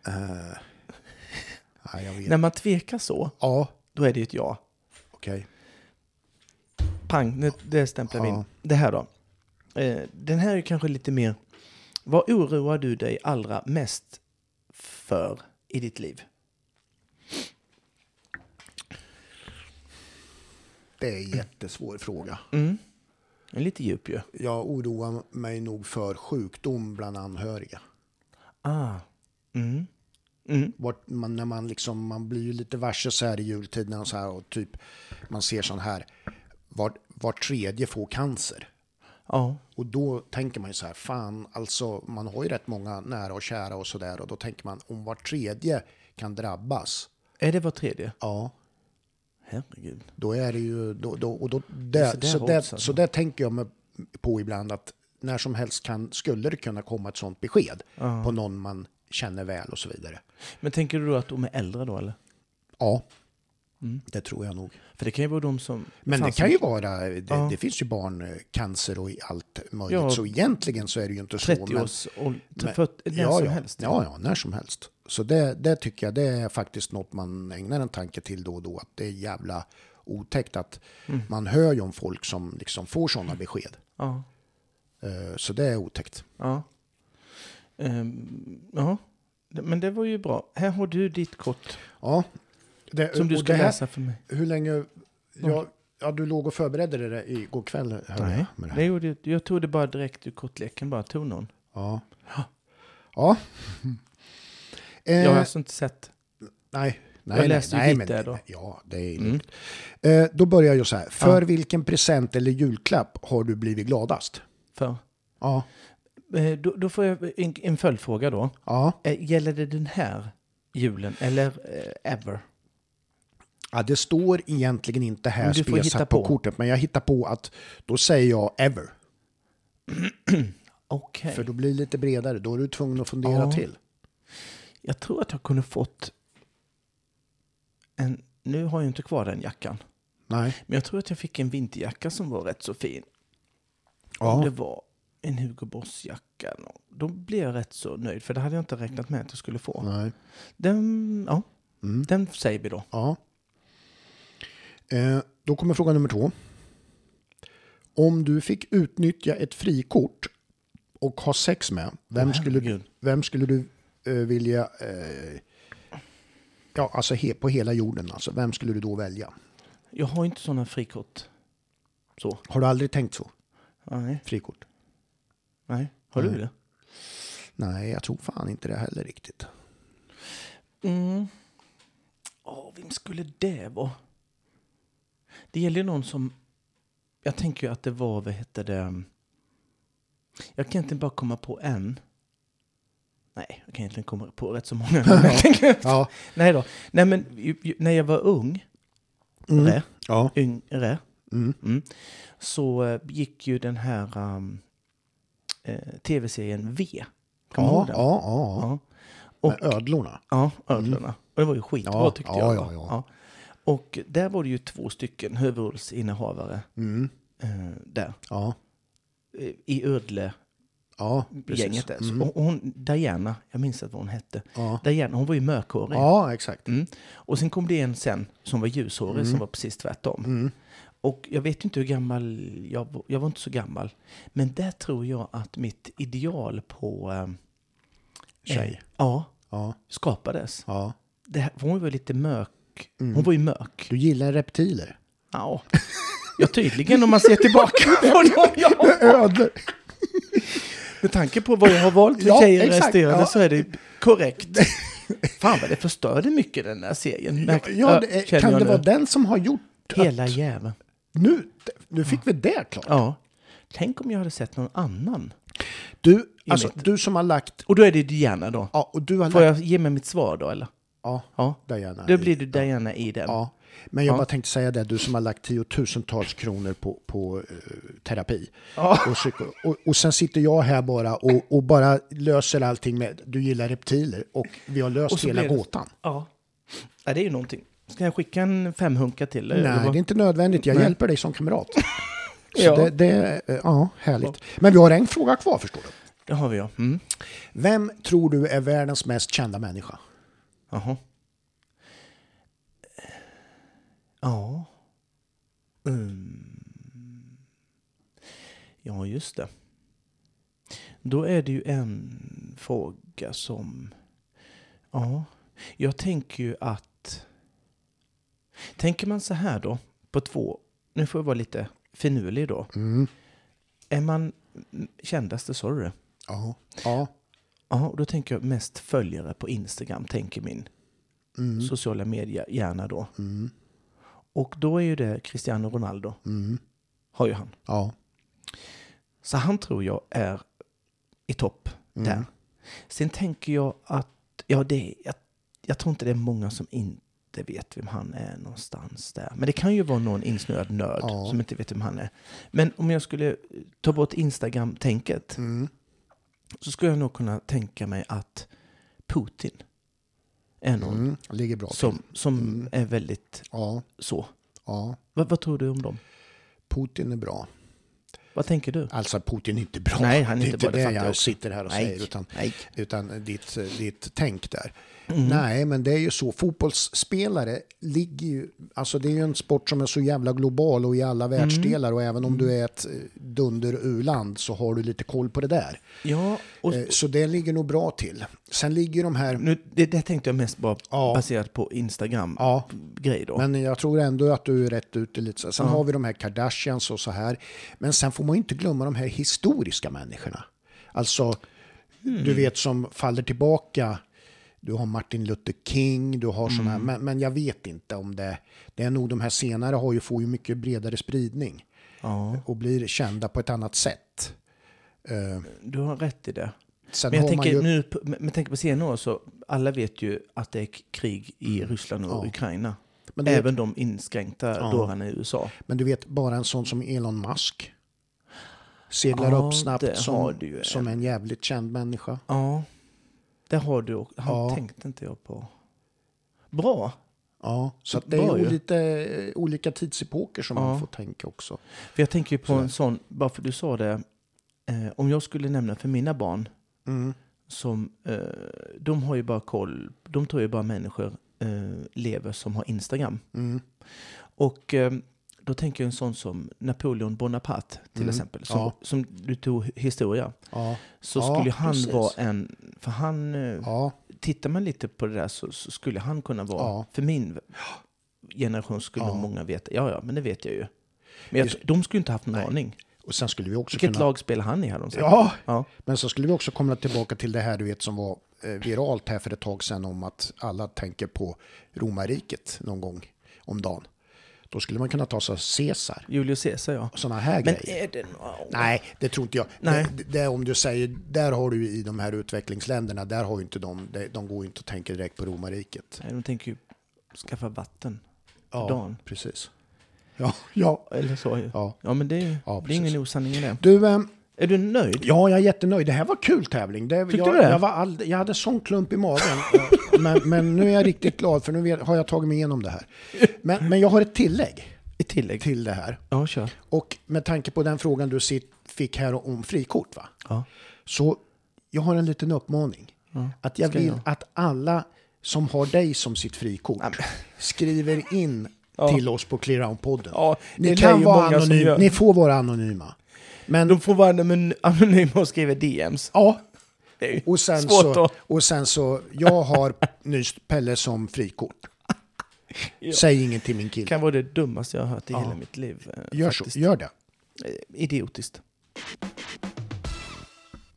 B: Eh, nej jag vet.
A: När man tvekar så,
B: Ja,
A: då är det ju ett ja.
B: okej.
A: Pang, nu, det stämplar vi in.
B: Ja.
A: Det här då. Eh, den här är kanske lite mer... Vad oroar du dig allra mest för i ditt liv?
B: Det är en jättesvår fråga.
A: Den är lite djup ju.
B: Jag oroar mig nog för sjukdom bland anhöriga.
A: Ah. Mm. Mm.
B: Vart man, när man, liksom, man blir ju lite varse så här i jultid när man så här, och typ, man ser sån här, var, var tredje får cancer.
A: Ja.
B: Och då tänker man ju så här, fan, alltså man har ju rätt många nära och kära och sådär och då tänker man om var tredje kan drabbas.
A: Är det var tredje?
B: Ja.
A: Herregud.
B: Då är det ju, då, då, och då,
A: är
B: där,
A: så
B: så,
A: där
B: där,
A: hårt,
B: så,
A: så.
B: där, tänker jag mig på ibland att när som helst kan, skulle det kunna komma ett sånt besked på någon man känner väl och så vidare.
A: Men tänker du då att de är äldre då eller?
B: Ja, det tror jag nog.
A: För det kan ju vara de som...
B: Men
A: Fan,
B: det
A: som
B: kan ju vara, det, det finns ju barncancer och i allt möjligt,
A: Ja.
B: så egentligen så är det ju inte så.
A: 30
B: men-
A: års ålder,
B: men-
A: när
B: ja,
A: som
B: ja,
A: helst.
B: Ja, ja, när som helst. Så det, det tycker jag, det är faktiskt något man ägnar en tanke till då och då, att det är jävla otäckt att
A: Mm.
B: man hör ju om folk som liksom får sådana besked.
A: Ja.
B: Eh, Så det är otäckt.
A: Ja. Ehm, ja. Det- Men det var ju bra. Här har du ditt kort
B: Ja. Det,
A: som du
B: och
A: ska
B: det här-
A: läsa för mig.
B: Hur länge... Ja, ja, du låg och förberedde dig där igår kväll, hörde
A: Nej,
B: jag. Med det
A: det
B: här.
A: gjorde jag, jag tog det bara direkt ur kortleken, bara tog någon.
B: Ja. Ja. Eh,
A: Jag har alltså inte sett.
B: Nej. Nej,
A: Jag läste ju
B: nej,
A: lite
B: men,
A: där då. Mm.
B: Ja, det är lugnt. Eh, då börjar jag så här. För vilken present eller julklapp har du blivit gladast?
A: För.
B: Ja.
A: Eh, Då, då får jag en, en följdfråga då.
B: Ja.
A: Eh, Gäller det den här julen eller eh, ever?
B: ja, det står egentligen inte
A: Men
B: här
A: du får hitta
B: spesat på.
A: på.
B: kortet, men jag hittar på att då säger jag ever.
A: Okej.
B: För då blir det lite bredare. Då är du tvungen att fundera
A: Ja.
B: till.
A: Jag tror att jag kunde fått en... Nu har jag inte kvar den jackan.
B: Nej.
A: Men jag tror att jag fick en vinterjacka som var rätt så fin. Om
B: Ja.
A: det var en Hugo Boss-jacka. Då blev jag rätt så nöjd. För det hade jag inte räknat med att jag skulle få.
B: Nej.
A: Den, ja,
B: Mm.
A: den säger vi då.
B: Ja. Eh, då kommer fråga nummer två. Om du fick utnyttja ett frikort och ha sex med, vem,
A: Åh,
B: skulle,
A: herregud.
B: vem skulle du eh, vilja... Eh, ja, alltså he, på hela jorden, alltså. Vem skulle du då välja?
A: Jag har inte sådana frikort. Så.
B: Har du aldrig tänkt så?
A: Nej.
B: Frikort?
A: Nej. Har du
B: Nej.
A: det?
B: Nej, jag tror fan inte det heller riktigt.
A: Mm. Åh, vem skulle det vara? Det gäller ju någon som... Jag tänker ju att det var, vad hette det? Jag kan inte bara komma på en. Nej, jag kan egentligen komma på rätt så många. Men jag tänker-
B: Ja.
A: Nej då. Nej, men ju- ju- när jag var ung,
B: Mm.
A: Rä.
B: Ja.
A: yngre,
B: Mm.
A: mm, så eh, gick ju den här um, eh, tv-serien V. Kommer du
B: Ja,
A: ihåg
B: ja,
A: den?
B: ja.
A: Ja.
B: Med ödlorna.
A: Ja, ödlorna. Mm. Och det var ju skitbra
B: Ja,
A: tyckte
B: ja,
A: jag.
B: ja, ja.
A: Och där var det ju två stycken huvudrollsinnehavare
B: Mm.
A: eh, där.
B: Ja,
A: eh, I Ödle-gänget
B: ja, precis. Mm.
A: där. Så- Och hon, Diana, jag minns inte vad hon hette.
B: Ja.
A: Diana, hon var ju mörkhårig.
B: Ja, exakt.
A: Mm. Och sen kom det en sen som var ljushårig
B: Mm.
A: som var precis tvärtom. Och jag vet inte hur gammal, jag, var- jag var inte så gammal. Men där tror jag att mitt ideal på... Eh,
B: Tjej.
A: Eh, ja,
B: Ja,
A: skapades.
B: ja.
A: Det här, hon var ju lite mörk.
B: Mm.
A: Hon var ju mörk.
B: Du gillar reptiler?
A: Ja. ja, tydligen om man ser tillbaka på dem. Ja.
B: Ödlor.
A: Med tanke på vad jag har valt för
B: Ja,
A: tjejer
B: exakt,
A: resterande
B: ja.
A: så är det korrekt. Fan vad det förstörde mycket den där serien.
B: Ja,
A: Märk-
B: ja, det är-
A: känner
B: kan
A: jag
B: det
A: nu.
B: vara den som har gjort
A: Hela
B: att,
A: jäveln.
B: nu, nu fick vi det klart.
A: Ja. Tänk om jag hade sett någon annan.
B: Du, alltså,
A: mitt.
B: du som har lagt...
A: Och då är det Diana då.
B: Ja, och du har
A: Får
B: lagt...
A: jag ge mig mitt svar då eller?
B: Ja,
A: Ja.
B: Diana.
A: Då blir det Diana i den.
B: Ja. Men jag bara tänkte säga det, du som har lagt tiotusentals kronor på, på eh, terapi. Och, psyko- och, och sen sitter jag här bara och, och bara löser allting med, du gillar reptiler och vi har
A: Och
B: löst
A: så
B: hela
A: blir det-
B: gåtan.
A: Ja. ja. Det är ju någonting. Ska jag skicka en femhunka till dig?
B: Nej, det är inte nödvändigt. Jag hjälper dig som kamrat. Så
A: Ja.
B: det, det, eh, ja, härligt. Men vi har en fråga kvar förstår du.
A: Det har vi ja. Mm.
B: Vem tror du är världens mest kända människa?
A: Jaha. Ja. Mm. Ja, just det. Då är det ju en fråga som... Ja, jag tänker ju att... Tänker man så här då, på två... Nu får jag vara lite finurlig då. Är man mm, kändaste, sa du det?
B: Ja. ja.
A: Ja, och då tänker jag mest följare på Instagram, tänker min
B: Mm.
A: sociala media gärna då. Och då är ju det Cristiano Ronaldo, har ju han.
B: Mm. Ja.
A: Så han tror jag är i topp
B: Mm.
A: där. Sen tänker jag att, ja det är, jag, jag tror inte det är många som inte inte vet vem han är någonstans där. Men det kan ju vara någon insnöad nörd
B: Ja.
A: som inte vet vem han är. Men om jag skulle ta bort Instagram-tänket
B: Mm.
A: så skulle jag nog kunna tänka mig att Putin är någon
B: Mm. Ligger bra till.
A: som, som
B: Mm.
A: är väldigt
B: Ja,
A: så.
B: ja.
A: Vad, vad tror du om dem?
B: Putin är bra.
A: Vad tänker du?
B: Alltså Putin är inte bra.
A: Nej, han är
B: det
A: inte bra, det
B: det
A: fattar
B: jag
A: jag.
B: sitter här och
A: Nej.
B: säger. Utan,
A: Nej.
B: utan ditt, ditt tänk där.
A: Mm.
B: Nej, men det är ju så. Fotbollsspelare ligger ju... Alltså det är ju en sport som är så jävla global och i alla
A: Mm.
B: världsdelar. Och även om du är ett eh, dunder u-land så har du lite koll på det där.
A: Ja, och Mm.
B: Eh, Så det ligger nog bra till. Sen ligger ju de här...
A: nu, det, det tänkte jag mest bara
B: Ja.
A: baserat på Instagram.
B: Ja,
A: grej då.
B: men jag tror ändå att du är rätt ute lite. så. Sen
A: Ja.
B: har vi de här Kardashians och så här. Men sen får man ju inte glömma de här historiska människorna. Alltså,
A: Mm.
B: du vet som faller tillbaka. Du har Martin Luther King, du har sådana här.
A: Mm.
B: Men, men jag vet inte om det... Det är nog de här senare har ju, får ju mycket bredare spridning.
A: ja,
B: Och blir kända på ett annat sätt. Eh,
A: du har rätt i det.
B: sen
A: Men jag
B: har man
A: tänker,
B: ju...
A: nu, men men tänk på senare år så, alla vet ju att det är k- krig i Ryssland och
B: Mm. Ja.
A: Ukraina.
B: Men du, vet,
A: Även de inskränkta
B: Ja.
A: dårarna i USA.
B: men du vet, bara en sån som Elon Musk. Seglar
A: Ja,
B: upp
A: det
B: snabbt
A: har
B: som,
A: du ju
B: som en jävligt känd människa.
A: Ja, det har du också. Han
B: Ja.
A: tänkte inte jag på. Bra!
B: Ja, så att det
A: Bra
B: är
A: ju.
B: ju lite eh, olika tidsepoker som
A: Ja.
B: man får tänka också.
A: För jag tänker ju på
B: Sådär.
A: en sån, bara för du sa det, eh, om jag skulle nämna för mina barn,
B: Mm.
A: som, eh, de har ju bara koll, de tror ju bara människor eh, lever som har Instagram.
B: Mm.
A: Och eh, då tänker jag en sån som Napoleon Bonaparte till
B: Mm,
A: exempel, som,
B: ja.
A: som du tog historia.
B: Ja,
A: Så
B: Ja,
A: skulle ju han
B: precis.
A: vara en, för han, eh,
B: ja,
A: tittar man lite på det där så, så skulle han kunna vara,
B: Ja.
A: för min generation skulle
B: Ja.
A: nog många veta, ja ja, men det vet jag ju. Men jag,
B: Just-
A: de skulle inte haft någon aning.
B: och sen skulle vi också
A: Vilket
B: kunna...
A: lag spelar han i här? De säger?
B: Ja,
A: ja.
B: men så skulle vi också komma tillbaka till det här du vet som var eh, viralt här för ett tag sedan om att alla tänker på romarriket någon gång om dagen. Då skulle man kunna ta så här Caesar
A: Julius Caesar ja.
B: och sådana här
A: Men
B: grejer.
A: är det någon...
B: Nej, det tror inte jag.
A: Nej.
B: Det, det, om du säger, där har du ju i de här utvecklingsländerna, där har ju inte de, de, de går ju inte att tänka direkt på romarriket.
A: Nej, de tänker ju skaffa vatten för
B: Ja,
A: dagen.
B: precis. Ja, ja,
A: Eller så ju. Ja,
B: ja.
A: men det, är-
B: Ja,
A: det är
B: precis.
A: ingen osanning i det.
B: Du, ehm,
A: Är du nöjd?
B: Ja, jag är jättenöjd. Det här var kul tävling. Det,
A: Tyckte
B: jag,
A: du det?
B: Jag, var all, jag hade sån klump i magen. Eh, men, men nu är jag riktigt glad för nu vet, har jag tagit mig igenom det här. Men, men jag har ett tillägg
A: I tillägg?
B: till det här.
A: Ja, kör.
B: Och med tanke på den frågan du sitt, fick här om frikort, va?
A: Ja. Mm.
B: så jag har en liten uppmaning. Att jag
A: ska
B: vill
A: jag?
B: att alla som har dig som sitt frikort skriver in
A: Ja.
B: till oss på ClearOut-podden.
A: Ja, det
B: Ni
A: är
B: kan
A: ju
B: vara
A: många som
B: anonyma.
A: gör.
B: Ni får vara anonyma. Men
A: De får vara anony- anonyma och skriva DMs.
B: ja,
A: Det är ju
B: Och sen,
A: svårt
B: så,
A: att...
B: och sen så, jag har nyss Pelle som frikort.
A: Ja.
B: Säg inget till min
A: Det
B: kille.
A: kan vara det dummaste jag har hört i
B: Ja.
A: hela mitt liv. eh,
B: Gör så,
A: faktiskt.
B: gör det.
A: Eh, Idiotiskt.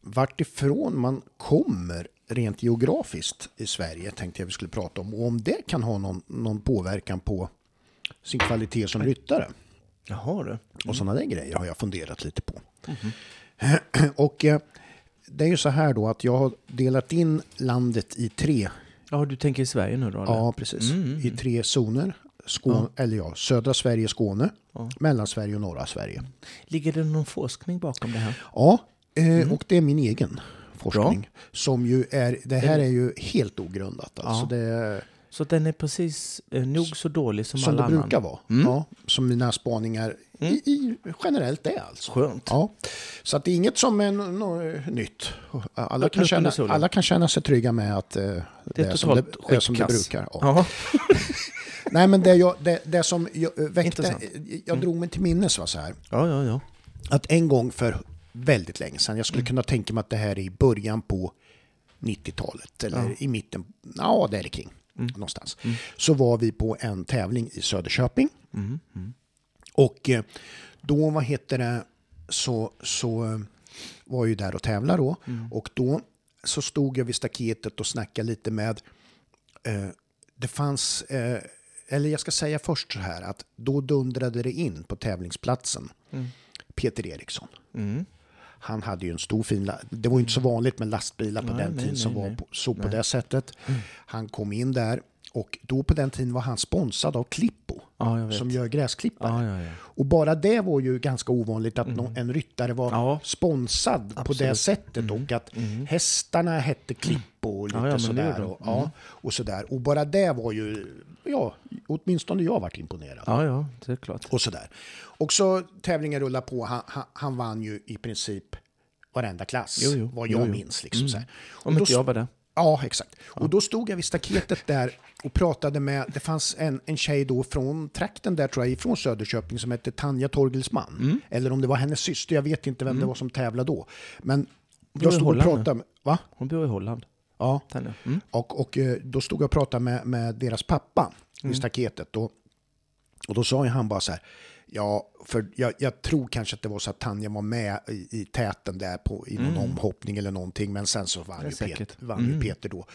B: Vart ifrån man kommer rent geografiskt i Sverige tänkte jag vi skulle prata om. Och om det kan ha någon, någon påverkan på sin kvalitet
A: Mm.
B: som ryttare.
A: Jaha du.
B: Och sådana där grejer har jag funderat lite på.
A: Mm-hmm.
B: Och eh, det är ju så här då att jag har delat in landet i tre
A: Ja, du tänker i Sverige nu då? eller?
B: Ja, precis.
A: Mm, mm,
B: I tre zoner. Skåne, Eller ja, södra Sverige, Skåne,
A: Ja.
B: Mellansverige och norra Sverige.
A: Ligger det någon forskning bakom det här?
B: Ja, eh,
A: Mm.
B: och det är min egen forskning. Som ju är, det här är ju helt ogrundat. Alltså det är,
A: Så att den är precis eh, nog så dålig som,
B: som
A: alla
B: det
A: annan? Mm.
B: brukar vara. Ja, som mina spaningar i, i, generellt är alltså.
A: Skönt.
B: Ja, så att det är inget som är no, no, nytt. Alla kan,
A: Upp under
B: känna,
A: solen.
B: alla kan känna sig trygga med att eh, det, är, som
A: totalt
B: det, är som det
A: skitkass.
B: brukar. Ja.
A: Ja.
B: Nej, men det, jag, det, det som jag, eh, väckte,
A: Intressant. Mm.
B: jag drog mig till minnes var så här,
A: ja, ja, ja.
B: att en gång för väldigt länge sedan, jag skulle kunna tänka mig att det här är i början på 90-talet eller i mitten, ja där är kring någonstans. Så var vi på en tävling i Söderköping.
A: Mm.
B: Och eh, då, vad heter det, så, så eh, var jag ju där och tävlade då.
A: Mm.
B: Och då så stod jag vid staketet och snackade lite med eh, det fanns, eh, eller jag ska säga först så här, att då dundrade det in på tävlingsplatsen
A: Mm.
B: Peter Eriksson. Han hade ju en stor fin, la- det var ju inte så vanligt med lastbilar på
A: Nej,
B: den
A: nej, Mm.
B: tiden som
A: nej,
B: var
A: nej.
B: på, så på det sättet. Han kom in där Och då på den tiden var han sponsrad av Klippo.
A: Ja, jag vet.
B: Som gör gräsklippare.
A: Ja, ja, ja.
B: Och bara det var ju ganska ovanligt att nå- en ryttare var
A: Ja. Mm.
B: sponsrad på det sättet. Och att hästarna hette Klippo och lite
A: Ja, ja, men det
B: sådär.
A: gjorde de. Mm.
B: Och, ja, och sådär. Och bara det var ju, ja, åtminstone jag varit imponerad.
A: Ja, ja, det är klart.
B: Och sådär. Och så tävlingen rullade på. Han, han, han vann ju i princip varenda klass.
A: Jo, jo.
B: vad jag
A: Jo, jo.
B: minns. Liksom, såhär. Och
A: Om
B: då
A: inte jag var där.
B: Ja, exakt. Och då stod jag vid staketet där och pratade med, det fanns en, en tjej då från trakten där tror jag, ifrån Söderköping som hette Tanja Torgelsman.
A: Mm.
B: Eller om det var hennes syster, jag vet inte vem det var som tävlade då. Men
A: var
B: jag
A: i
B: stod och
A: Holland, va?
B: pratade med, va?
A: Hon bor i Holland.
B: Ja.
A: Tanja. Mm.
B: Och, och eh, då stod jag och pratade med, med deras pappa vid staketet. Och, och då sa ju han bara så här, ja, för jag, jag tror kanske att det var så att Tanja var med i, i täten där på, i någon omhoppning eller någonting, men sen så vann, ju Peter,
A: säkert.
B: vann ju Peter då.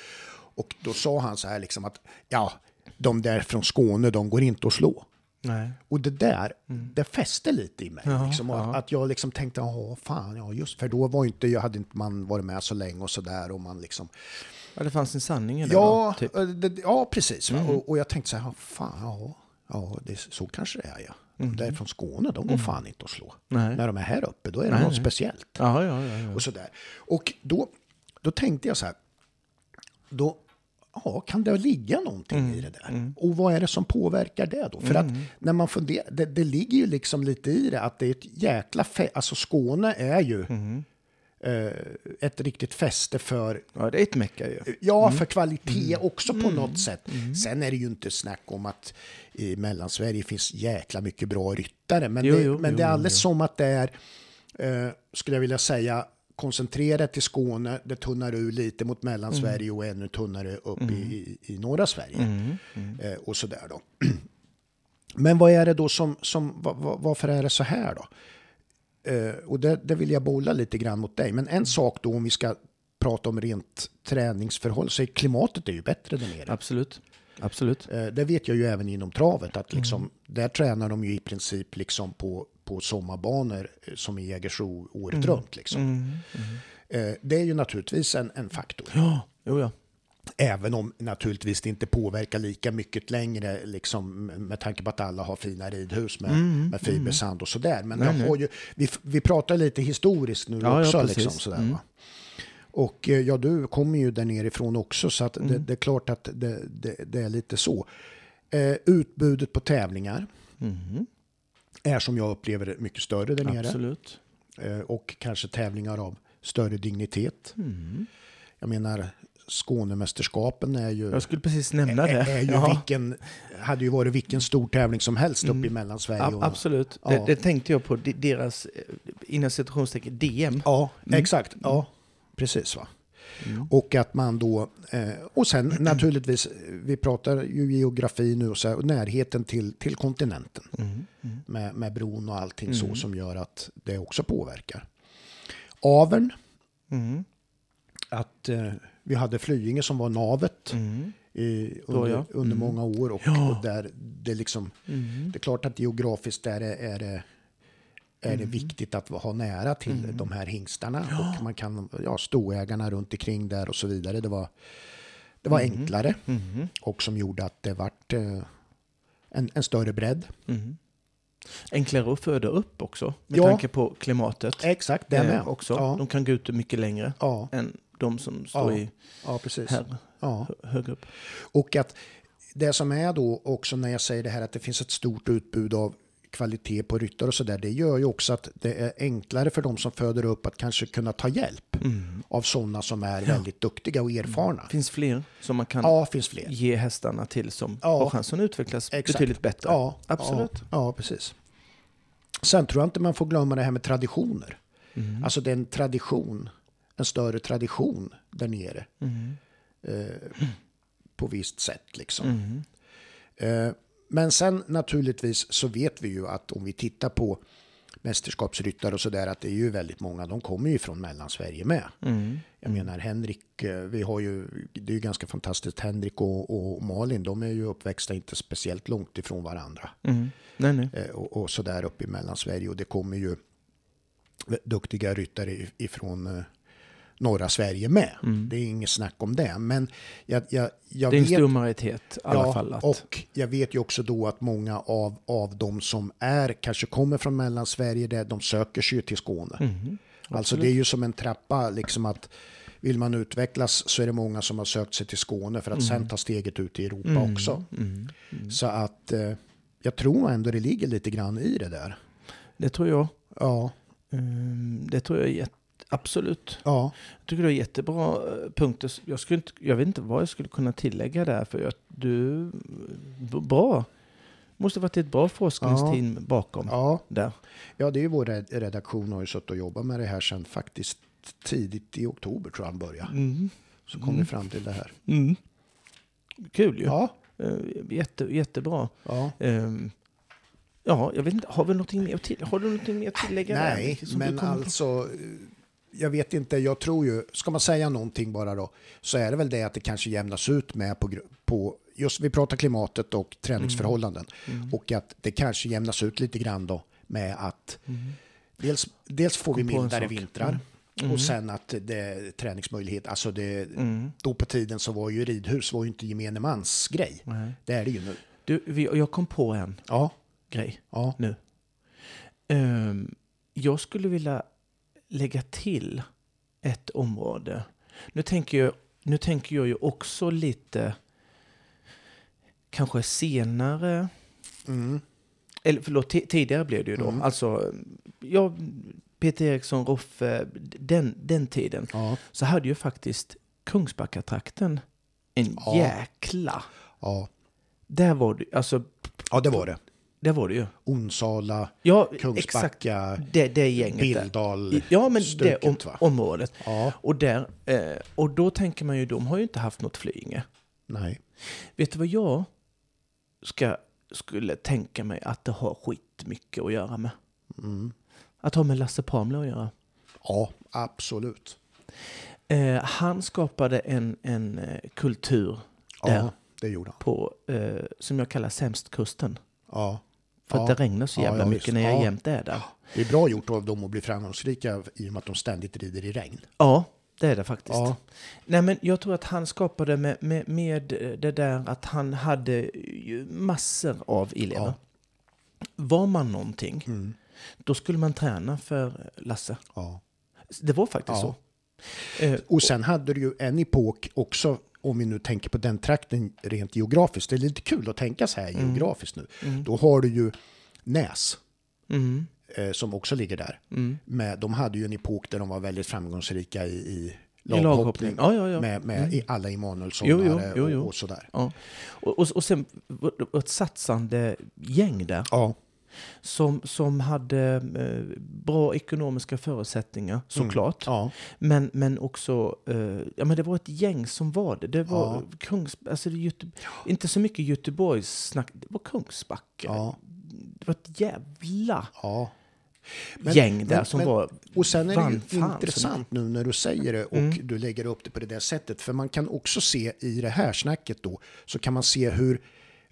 B: Och då sa han så här liksom att, ja, de där från Skåne, de går inte att slå.
A: Nej.
B: Och det där, det fäste lite i mig. liksom, och Att jag liksom tänkte, ja fan, ja just, för då var ju inte, jag hade inte man varit med så länge och sådär och man liksom,
A: Ja, det fanns en sanning i det.
B: Ja,
A: va? Typ. Mm.
B: eh, det, ja precis. va. Och, och jag tänkte så här, fan, ja, ja det, är- så kanske det är ja. De där från Skåne, de går fan inte att slå.
A: Mm. Nej.
B: När de är här uppe, då är det något speciellt.
A: Ja, ja, ja. ja.
B: Och, så där. och då, då tänkte jag så här, då ja, kan det ligga någonting
A: Mm.
B: i det där? Och vad är det som påverkar det då? För att när man funderar, det, det ligger ju liksom lite i det att det är ett jäkla fe- alltså Skåne är ju
A: Mm.
B: eh, ett riktigt fäste för
A: ja det är ett mecka ju.
B: Ja, för kvalitet
A: Mm.
B: också på något sätt. Sen är det ju inte snack om att i Mellansverige finns jäkla mycket bra ryttare. Men,
A: Jo,
B: det,
A: jo,
B: men
A: jo,
B: det är
A: jo,
B: alldeles som att det är, eh, skulle jag vilja säga, koncentrerat till Skåne. Det tunnar ur lite mot Mellansverige
A: Mm.
B: och ännu tunnare upp i, i, i norra Sverige. Eh, och sådär då. Men vad är det då som, som va- va- varför är det så här då? Eh, och det, det vill jag bolla lite grann mot dig. Men en sak då om vi ska prata om rent träningsförhållanden, så är klimatet är ju bättre där nere.
A: Absolut. Absolut.
B: Eh, det vet jag ju även inom travet att liksom, där tränar de ju i princip liksom på, på sommarbanor eh, som i Jägersro året runt. Liksom.
A: Mm.
B: Eh, det är ju naturligtvis en, en faktor.
A: Ja, jo ja.
B: Även om naturligtvis det inte påverkar lika mycket längre liksom, med tanke på att alla har fina ridhus med,
A: Mm,
B: med fibersand och sådär. Men jag har ju, vi, vi pratar lite historiskt nu
A: Ja, ja,
B: också.
A: precis. Mm.
B: liksom, sådär, va? Och eh, ja, du kommer ju där nerifrån också så att det,
A: Mm.
B: det är klart att det, det, det är lite så. Eh, utbudet på tävlingar
A: Mm.
B: är som jag upplever det mycket större där nere.
A: Absolut.
B: Eh, och kanske tävlingar av större dignitet. Jag menar, Skånemästerskapen är ju,
A: Jag skulle precis nämna det.
B: är, är ju vilken, hade ju varit vilken stor tävling som helst uppe i Mellansverige.
A: Mm. Ab-
B: och-
A: absolut.
B: Ja.
A: Det, det tänkte jag på. De- Deras, eh, inom citationstecken, DM.
B: Ja,
A: Mm.
B: exakt. Ja, precis va. Och att man då, eh, och sen naturligtvis, eh, vi pratar ju geografi nu och, så här, och närheten till, till kontinenten.
A: Mm.
B: Med, med bron och allting så som gör att det också påverkar. Aveln.
A: Mm.
B: Att eh, vi hade Flyinge som var navet.
A: Mm.
B: I, under
A: ja.
B: under många år och, och där det liksom,
A: Mm.
B: det är klart att geografiskt är det, är det är
A: Mm.
B: det viktigt att ha nära till de här hingstarna. Och man kan, ja, stoägarna runt omkring där och så vidare. Det var, det var
A: Mm.
B: enklare och som gjorde att det vart eh, en, en större bredd.
A: Mm. Enklare att föda upp också, med
B: Ja.
A: tanke på klimatet.
B: Exakt, det med.
A: Eh, också.
B: Ja,
A: De kan gå ut mycket längre
B: ja,
A: än de som står
B: ja,
A: i
B: ja precis.
A: här,
B: Ja.
A: hö- högre upp.
B: Och att det som är då också när jag säger det här att det finns ett stort utbud av kvalitet på ryttare och sådär. Det gör ju också att det är enklare för de som föder upp att kanske kunna ta hjälp av sådana som är väldigt duktiga och erfarna.
A: finns fler som man kan
B: Ja, finns fler.
A: ge hästarna till som
B: Ja.
A: har chansen att utvecklas
B: Exakt.
A: betydligt bättre.
B: Ja,
A: Absolut.
B: Ja, ja, precis. Sen tror jag inte man får glömma det här med traditioner.
A: Mm.
B: Alltså det är en tradition, en större tradition där nere.
A: Mm.
B: Eh, på visst sätt liksom.
A: Mm.
B: Eh, men sen naturligtvis så vet vi ju att om vi tittar på mästerskapsryttare och sådär att det är ju väldigt många, de kommer ju från Mellansverige med.
A: Mm.
B: Jag menar Henrik, eh, vi har ju, det är ju ganska fantastiskt, Henrik och, och Malin, de är ju uppväxta inte speciellt långt ifrån varandra.
A: Mm. Nej, nej.
B: Eh, och, och sådär uppe i Mellansverige och det kommer ju duktiga ryttare if- ifrån eh, norra Sverige med.
A: Mm.
B: Det är inget snack om det. Men jag, jag, jag
A: Det är en
B: vet...
A: stor majoritet i alla fall. Att,
B: Och jag vet ju också då att många av, av de som är, kanske kommer från Mellansverige, där, de söker sig ju till Skåne.
A: Mhm.
B: Alltså det är ju som en trappa, liksom att vill man utvecklas så är det många som har sökt sig till Skåne för att sen ta steget ut i Europa
A: Mm,
B: också.
A: Mm. Mm.
B: Så att eh, jag tror ändå det ligger lite grann i det där.
A: Det tror jag.
B: Ja,
A: Ehm, Det tror jag är jätte, absolut.
B: ja,
A: Jag tycker du har jättebra eh, punkter. Jag, skulle inte, jag vet inte vad jag skulle kunna tillägga där. För jag, du, b- bra. Måste varit ett bra forskningsteam bakom
B: ja.
A: där.
B: Ja, det är ju vår red- redaktion har ju suttit och jobbat med det här sedan faktiskt tidigt i oktober tror jag han började.
A: Mm.
B: Så kom
A: Mm.
B: vi fram till det här.
A: Mm. Kul ju.
B: Ja,
A: Eh, Jätte, jättebra.
B: ja.
A: Ehm, Ja, jag vet inte. Har vi någonting mer att till, Har du någonting mer att tillägga? där,
B: Nej,
A: som du
B: men
A: kommer på?
B: alltså, eh, jag vet inte, jag tror ju, ska man säga någonting bara då, så är det väl det att det kanske jämnas ut med på, gru- på just vi pratar klimatet och träningsförhållanden
A: Mm.
B: och att det kanske jämnas ut lite grann då med att
A: Mm.
B: dels, dels får vi
A: Kom på en
B: mildare
A: sak.
B: vintrar
A: Mm. Mm.
B: och sen att det träningsmöjlighet, alltså det,
A: Mm.
B: då på tiden så var ju ridhus var ju inte gemene mans grej.
A: Nej.
B: Det är det ju nu.
A: Du, vi, jag kom på en
B: Ja,
A: grej.
B: ja,
A: Ehm, jag skulle vilja lägga till ett område. Nu tänker jag, nu tänker jag ju också lite kanske senare.
B: mm,
A: Eller förlåt, ti- tidigare blev det ju då.
B: Mm.
A: Alltså, ja, Peter Eriksson, Roffe, den, den tiden.
B: ja,
A: Så hade ju faktiskt Kungsbackatrakten en
B: Ja.
A: jäkla...
B: ja,
A: Där var det, alltså,
B: ja, det var det.
A: där var det ju.
B: Onsala,
A: Ja, exakt.
B: Kungsbacka,
A: Det, det gänget där.
B: Bildal.
A: Ja, men det om,
B: stuket, va?
A: området.
B: Ja,
A: Och, där, eh, och då tänker man ju, de har ju inte haft något flyinge.
B: nej.
A: Vet du vad jag ska, skulle tänka mig att det har skitmycket att göra med?
B: Mm.
A: Att ha med Lasse Palmler att göra.
B: Ja, absolut.
A: Eh, han skapade en, en eh, kultur
B: Ja,
A: Där.
B: det gjorde han.
A: på, eh, som jag kallar sämstkusten.
B: Ja.
A: För
B: ja.
A: att det regnar så
B: Ja,
A: jävla
B: ja,
A: mycket
B: visst.
A: när jag
B: Ja.
A: jämt är där.
B: det är bra gjort av dem att bli framgångsrika i och med att de ständigt rider i regn.
A: Ja, det är det faktiskt.
B: Ja,
A: Nej, men jag tror att han skapade med, med, med eh, det där att han hade ju massor av elever.
B: Ja.
A: Var man någonting,
B: mm.
A: då skulle man träna för Lasse.
B: ja.
A: Det var faktiskt
B: Ja.
A: så. Eh,
B: Och sen hade du ju en epok också, om vi nu tänker på den trakten rent geografiskt. Det är lite kul att tänka så här geografiskt nu. Då har du ju Näs,
A: mm,
B: eh, som också ligger där.
A: mm.
B: Med, de hade ju en epok där de var väldigt framgångsrika i, i
A: I
B: laghoppning.
A: laghoppning. Ja, ja, ja.
B: Med, med i alla Emanuelsson
A: Jo, jo, jo, jo.
B: och, och sådär.
A: ja. Och, och, och sen var det ett satsande gäng där
B: Ja,
A: som, som hade eh, bra ekonomiska förutsättningar, såklart.
B: Mm. ja.
A: Men, men också, eh, ja men det var ett gäng som var det. Det var
B: Ja.
A: Kungs, alltså det är Göte, inte så mycket Göteborgs snack, det var Kungsbacka.
B: Ja.
A: Det var ett jävla
B: ja.
A: gäng där
B: men-
A: som
B: men-
A: var...
B: Och sen är
A: vann
B: det ju
A: fan så Mm.
B: intressant nu när du säger det och du lägger upp det på det där sättet. För man kan också se i det här snacket då, så kan man se hur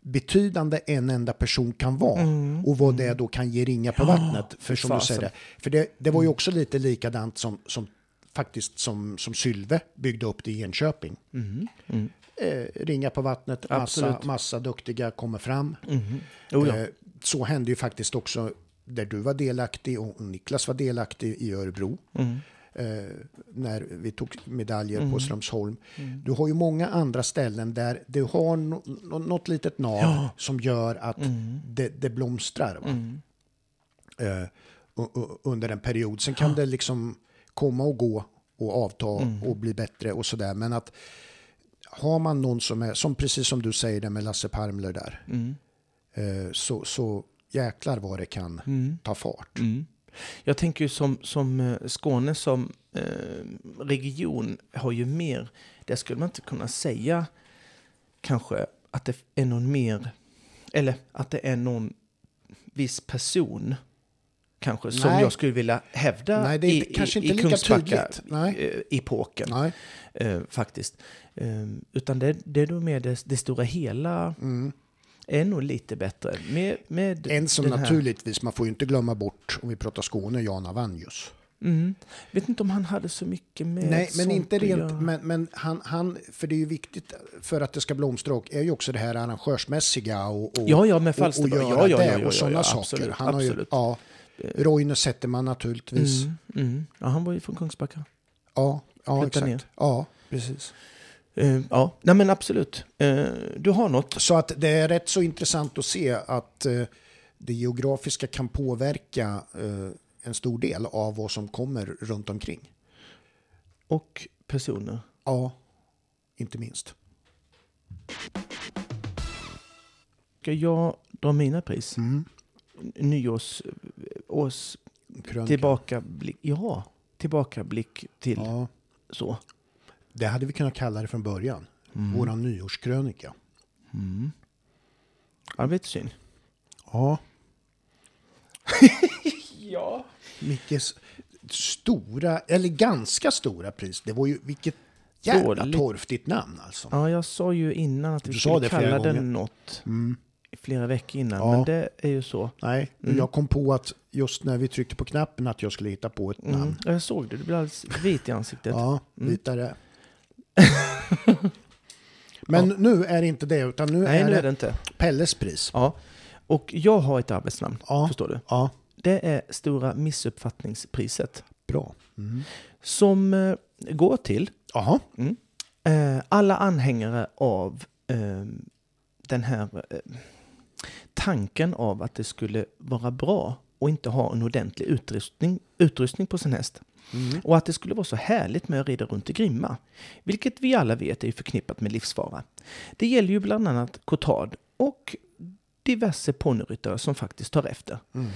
B: betydande en enda person kan vara och vad det då kan ge ringa på vattnet. För som du
A: Mm. fasen. Mm.
B: säger, det. för det, det var ju också lite likadant som, som faktiskt som, som Sylve byggde upp det i Enköping.
A: mm,
B: Eh, ringa på vattnet, massa,
A: Absolut.
B: massa duktiga kommer fram.
A: Oh, ja.
B: Eh, Så hände ju faktiskt också där du var delaktig och Niklas var delaktig i Örebro. Eh, när vi tog medaljer på Strömsholm. Du har ju många andra ställen där du har no- no- något litet nav som gör att det, det blomstrar. Va?
A: Mm,
B: Eh, u- u- under en period. Sen kan det liksom komma och gå och avta och bli bättre och sådär. Men att har man någon som är, som precis som du säger det med Lasse Parmler där,
A: mm,
B: eh, så, så jäklar vad det kan ta fart.
A: Mm. Jag tänker ju som, som eh, Skåne som eh, region har ju mer, där skulle man inte kunna säga kanske att det är någon mer, eller att det är någon viss person kanske som
B: Nej.
A: jag skulle vilja hävda
B: Nej, det är inte-
A: i,
B: kanske
A: i,
B: inte
A: i
B: lika
A: Kungsbacka
B: tydligt. Nej.
A: eh, epoken
B: Nej,
A: eh, faktiskt. Eh, utan det, det är nog mer det, det stora hela är nog lite bättre. Med, med
B: en Mm. som
A: den här-
B: naturligtvis, man får ju inte glömma bort, om vi pratar Skåne, Jan Avanjus.
A: Mm. Vet inte om han hade så mycket med
B: Nej, men
A: sånt
B: inte
A: att
B: rent,
A: göra.
B: men, men han, han, för det är ju viktigt för att det ska blomstra och är ju också det här arrangörsmässiga och, och,
A: Ja, ja, med
B: och, och
A: Falsterbo.
B: göra
A: Ja, ja, ja,
B: det
A: ja, ja,
B: och sådana
A: ja,
B: saker.
A: absolut,
B: han har ju,
A: absolut.
B: ja, Roine Zetterman naturligtvis.
A: Mm, mm. Ja, han var ju från Kungsbacka.
B: Ja, ja
A: Flytta
B: exakt.
A: ner.
B: Ja, precis.
A: Eh, ja, nej men absolut. Eh, du har något?
B: Så att det är rätt så intressant att se att eh, det geografiska kan påverka eh, en stor del av vad som kommer runt omkring.
A: Och personer?
B: Ja, inte minst.
A: Ska jag dra mina pris?
B: Mm.
A: Nyårs... eh, Års
B: Krönika.
A: tillbakablick. Ja, tillbakablick till
B: Ja,
A: så. Mm.
B: det hade vi kunnat kalla det från början. Vår nyårskrönika.
A: Ja, det var lite synd.
B: Ja.
A: Ja.
B: Mickes stora, eller ganska stora pris. Det var ju, vilket jävla
A: Dåligt.
B: torftigt namn alltså.
A: Ja, jag sa ju innan att vi
B: Du sa
A: skulle
B: det flera
A: kalla
B: gånger. Mm.
A: den något. Flera veckor innan,
B: Ja.
A: men det är ju så.
B: Nej,
A: Mm.
B: jag kom på att just när vi tryckte på knappen att jag skulle hitta på ett
A: Mm.
B: namn.
A: ja, Jag såg det, du blev alldeles vit i ansiktet.
B: Ja, vitare. Men nu är det inte det, utan nu,
A: Nej,
B: är,
A: nu
B: det
A: är det inte.
B: Pelles pris.
A: Ja. Och jag har ett arbetsnamn,
B: Ja.
A: förstår du.
B: Ja,
A: Det är Stora missuppfattningspriset.
B: bra. Mm.
A: Som eh, går till
B: Jaha,
A: eh, alla anhängare av eh, den här eh, tanken av att det skulle vara bra och inte ha en ordentlig utrustning, utrustning på sin häst.
B: Mm.
A: Och att det skulle vara så härligt med att rida runt i Grimma. Vilket vi alla vet är ju förknippat med livsfara. Det gäller ju bland annat Cotard och diverse ponnyryttare som faktiskt tar efter.
B: Mm.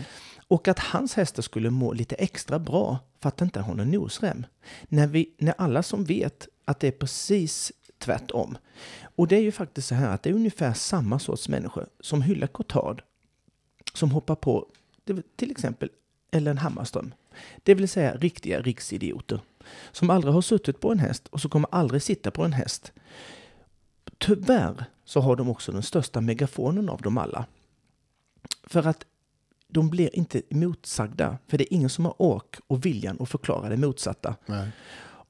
A: Och att hans hästar skulle må lite extra bra för att det inte har någon nosrem. När, vi, när alla som vet att det är precis tvärtom. Och det är ju faktiskt så här att det är ungefär samma sorts människor som hyllar Cotard som hoppar på det- till exempel Ellen Hammarström. Det vill säga riktiga riksidioter. Som aldrig har suttit på en häst och som kommer aldrig sitta på en häst. Tyvärr så har de också den största megafonen av dem alla. För att de blir inte motsagda. För det är ingen som har ork och viljan att förklara det motsatta.
B: Nej.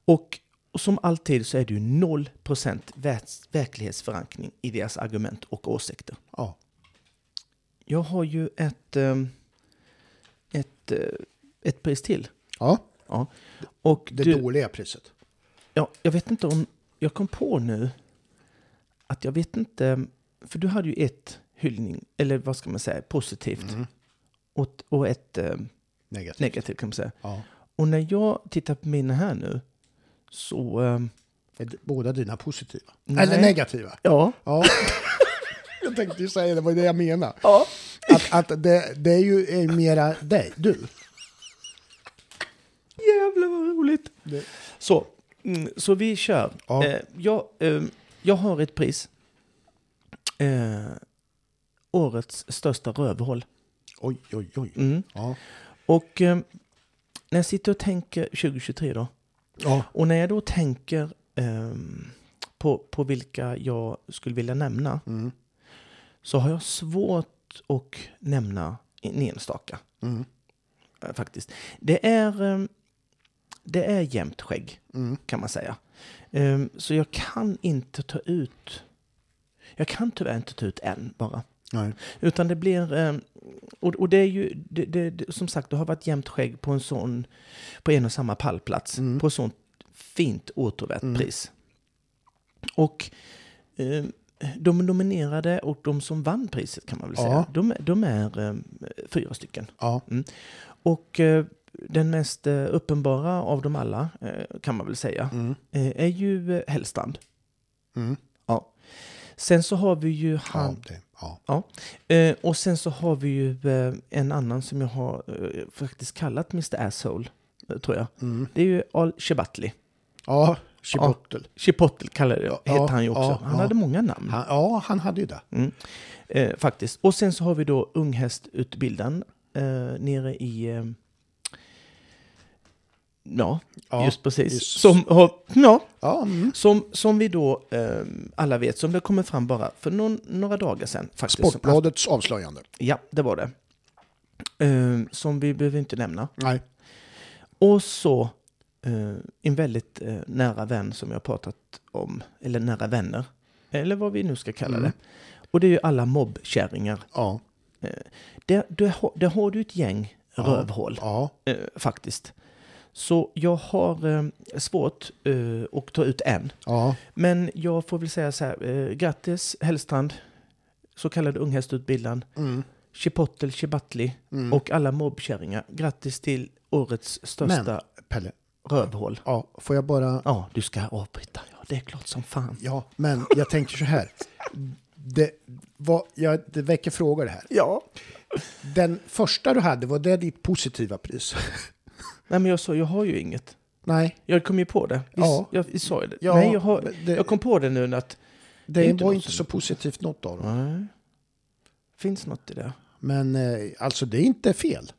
A: Och, och som alltid så är det ju 0% verks- verklighetsförankring i deras argument och åsikter.
B: ja.
A: Jag har ju ett, ehm, ett, eh, ett pris till.
B: ja
A: Ja. Och
B: det
A: du,
B: dåliga priset.
A: ja, jag vet inte om... Jag kom på nu att jag vet inte... För du hade ju ett hyllning, eller vad ska man säga, positivt.
B: Mm.
A: Och, och ett eh,
B: Negativt.
A: negativt kan man säga.
B: Ja.
A: Och när jag tittar på mina här nu så... ehm,
B: Är d- båda dina positiva?
A: Nej.
B: Eller negativa?
A: ja.
B: Ja. jag tänkte ju säga det, var det jag menade.
A: ja.
B: Att, att det, det är ju är mera dig, du.
A: Jävlar vad roligt!
B: Det-
A: Så, mm, så vi kör.
B: Ja.
A: Eh, jag, eh, jag har ett pris. Eh, årets största rövhål.
B: Oj, oj, oj.
A: Mm.
B: Ja.
A: Och eh, när jag sitter och tänker 2023 då.
B: Ja.
A: Och när jag då tänker ehm, på, på vilka jag skulle vilja nämna.
B: Mm.
A: Så har jag svårt att nämna en enstaka.
B: Mm.
A: eh, Faktiskt. Det är, ehm, det är jämnt skägg.
B: Mm.
A: kan man säga. Ehm, så jag kan inte ta ut... Jag kan tyvärr inte ta ut en bara.
B: Nej.
A: Utan det blir... ehm, och, och det är ju... Det, det, det, som sagt, det har varit jämnt skägg på en sån... På en och samma pallplats.
B: Mm.
A: På ett sånt fint återvärt
B: Mm.
A: pris. Och... ehm, de nominerade och de som vann priset kan man väl
B: Ja.
A: säga, de, de är ehm, fyra stycken.
B: Ja.
A: Och eh, den mest eh, uppenbara av dem alla, eh, kan man väl säga,
B: Mm.
A: eh, är ju eh, Hellstrand.
B: Mm.
A: Ja. Sen så har vi ju
B: Ja,
A: han.
B: det, ja.
A: Eh, och sen så har vi ju eh, en annan som jag har eh, faktiskt kallat Mr Asshole, eh, tror jag.
B: Mm.
A: Det är ju Al Chibatli.
B: Ja, Chipotle.
A: Chipotle kallar jag,
B: Ja,
A: heter han ju också.
B: ja,
A: han
B: ja.
A: hade många namn
B: Han, ja, han hade ju det.
A: eh, faktiskt. Och sen så har vi då unghästutbildaren eh, nere i... Eh, ja,
B: Ja,
A: just precis.
B: just-
A: Som, har, ja,
B: Ja, mm.
A: som, som vi då eh, alla vet, som det kommer fram bara för någon, några dagar sedan. Faktiskt, som
B: Sportbladets avslöjande.
A: Ja, det var det. Eh, som vi behöver inte nämna.
B: Nej.
A: Och så eh, en väldigt eh, nära vän som jag har pratat om, eller nära vänner, eller vad vi nu ska kalla
B: Mm.
A: det. Och det är ju alla mobbkärringar.
B: Ja.
A: Där, där, har- där har du ett gäng rövhål
B: Ja.
A: eh, faktiskt. Så jag har eh, svårt eh, att ta ut en.
B: Ja.
A: Men jag får väl säga så här, eh, grattis Hellstrand, så kallad unghästutbildaren,
B: Mm.
A: Chipotle Chibatli
B: Mm.
A: och alla mobbkärringar. Grattis till årets största
B: Men, Pelle,
A: rövhål.
B: ja, får jag bara...
A: Ja, du ska avbryta. Ja, det är klart som fan.
B: Ja, men jag tänker så här. Det, vad, ja, det väcker frågor det här.
A: Ja.
B: Den första du hade, var det ditt positiva pris?
A: Nej, men jag sa, jag har ju inget.
B: Nej.
A: Jag kom ju på det. Vi,
B: Ja.
A: Jag, vi sa ju det.
B: Ja,
A: Nej, jag, har,
B: men det-
A: jag kom på det nu att
B: Det,
A: är inte
B: var
A: något
B: inte
A: som-
B: så positivt något av dem.
A: nej, finns något i det.
B: Men eh, alltså det är inte fel.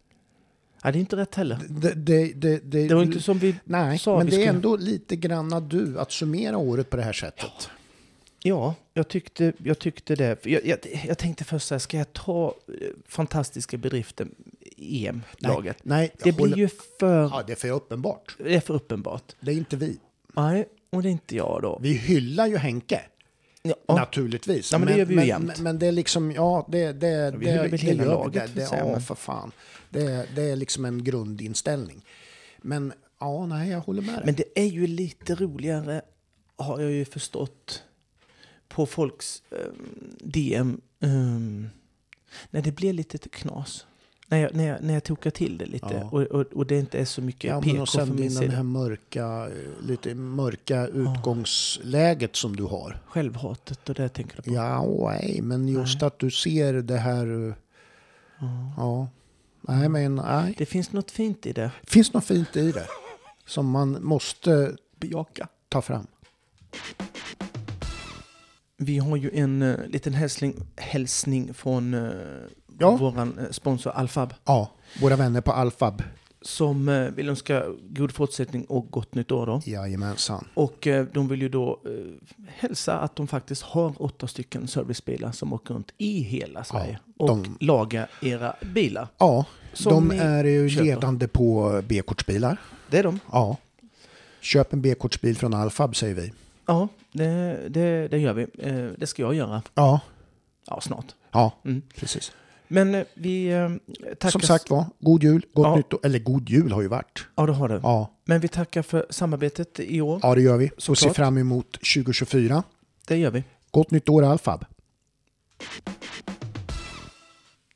A: Ja, det är inte rätt heller.
B: Det, det, det, det,
A: Det var inte som vi
B: Nej,
A: sa
B: men
A: vi
B: det är
A: skulle-
B: ändå lite granna du att summera året på det här sättet.
A: Ja, jag tyckte, jag tyckte det. För Jag, jag, jag tänkte först så här, ska jag ta eh, fantastiska bedriften i EM-laget?
B: Nej,
A: Det
B: jag håller-
A: blir ju för,
B: Ja, det är för uppenbart.
A: det är för uppenbart.
B: Det är inte vi.
A: Nej, och det är inte jag då.
B: Vi hyllar ju Henke,
A: Ja,
B: naturligtvis.
A: Ja, men det gör vi ju jämt.
B: Men, men det är liksom, ja, det... det,
A: vi
B: det,
A: hyllar väl
B: det
A: hela
B: gör vi.
A: laget,
B: Det,
A: vill
B: det,
A: säga,
B: ja,
A: men-
B: för fan. Det, det är liksom en grundinställning. Men, ja, nej, jag håller med dig.
A: men det är ju lite roligare, har jag ju förstått, på folks eh, DM. ehm, när det blir lite knas. När jag, när jag, när jag tokar till det lite
B: Ja.
A: och, och, och det inte är så mycket
B: Ja, men
A: PK
B: och
A: från
B: sen
A: min
B: den
A: sida.
B: här mörka, eh, lite mörka utgångsläget som du har.
A: Självhatet och det tänker jag på.
B: Ja, och nej, men just att du ser det här... eh, Ja. Nej, men nej.
A: Det finns något fint i det.
B: Finns något fint i det som man måste
A: Bejaka.
B: ta fram?
A: Vi har ju en eh, liten hälsning, hälsning från uh,
B: Ja.
A: vår sponsor Alfab
B: Ja, våra vänner på Alfab.
A: som eh, vill önska god fortsättning och gott nytt år. Då.
B: Jajamensan.
A: Och eh, de vill ju då eh, hälsa att de faktiskt har åtta stycken servicebilar som åker runt i hela Sverige och
B: de-
A: lagar era bilar.
B: Ja,
A: Som
B: de
A: ni
B: är ju
A: köper.
B: ledande på B-kortsbilar.
A: Det är de.
B: Ja. Köp en B-kortsbil från Alfab säger vi.
A: Ja, det, det, det gör vi. Eh, det ska jag göra.
B: Ja,
A: Ja, snart.
B: ja
A: Mm.
B: precis.
A: Men eh, vi eh, tackar...
B: Som sagt var, god jul, gott
A: Ja.
B: nytt år. Eller god jul har ju varit.
A: Ja, det har du.
B: Ja,
A: Men vi tackar för samarbetet i år.
B: ja det gör vi. Och ser
A: Såklart.
B: fram emot 2024.
A: Det gör vi.
B: Gott nytt år Alfab.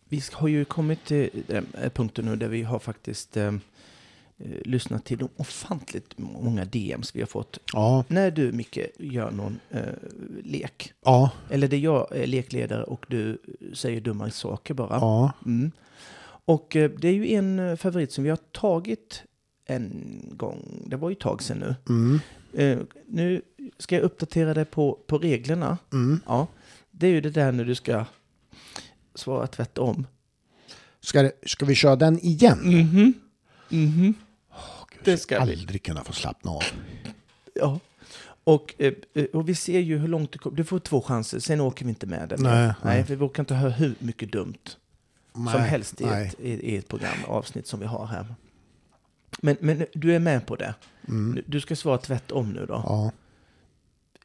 A: Vi har ju kommit till den här punkten nu där vi har faktiskt eh, eh, lyssnat till de ofantligt må- många DMs vi har fått.
B: Ja,
A: När du, Micke, gör någon eh, lek,
B: ja,
A: eller där jag är lekledare och du säger dumma saker bara.
B: ja.
A: Mm. Och eh, det är ju en eh, favorit som vi har tagit en gång, det var ju ett tag sedan nu.
B: Mm,
A: Eh, nu ska jag uppdatera dig på, på reglerna.
B: mm.
A: Ja, det är ju det där när du ska svara tvärtom.
B: Ska, det- ska vi köra den igen?
A: Mhm. Mhm.
B: Gud,
A: Det
B: jag
A: ska vi.
B: aldrig kunna få slappna av.
A: Ja. Och, eh, eh, och vi ser ju hur långt du kommer. Du får två chanser, sen åker vi inte med den.
B: Nej, nej.
A: nej. för vi orkar inte höra hur mycket dumt som
B: Nej,
A: helst i
B: nej.
A: ett, i, i ett program, avsnitt som vi har här. Men, men du är med på det.
B: Mm.
A: Du- Du ska svara tvärtom nu då.
B: Ja.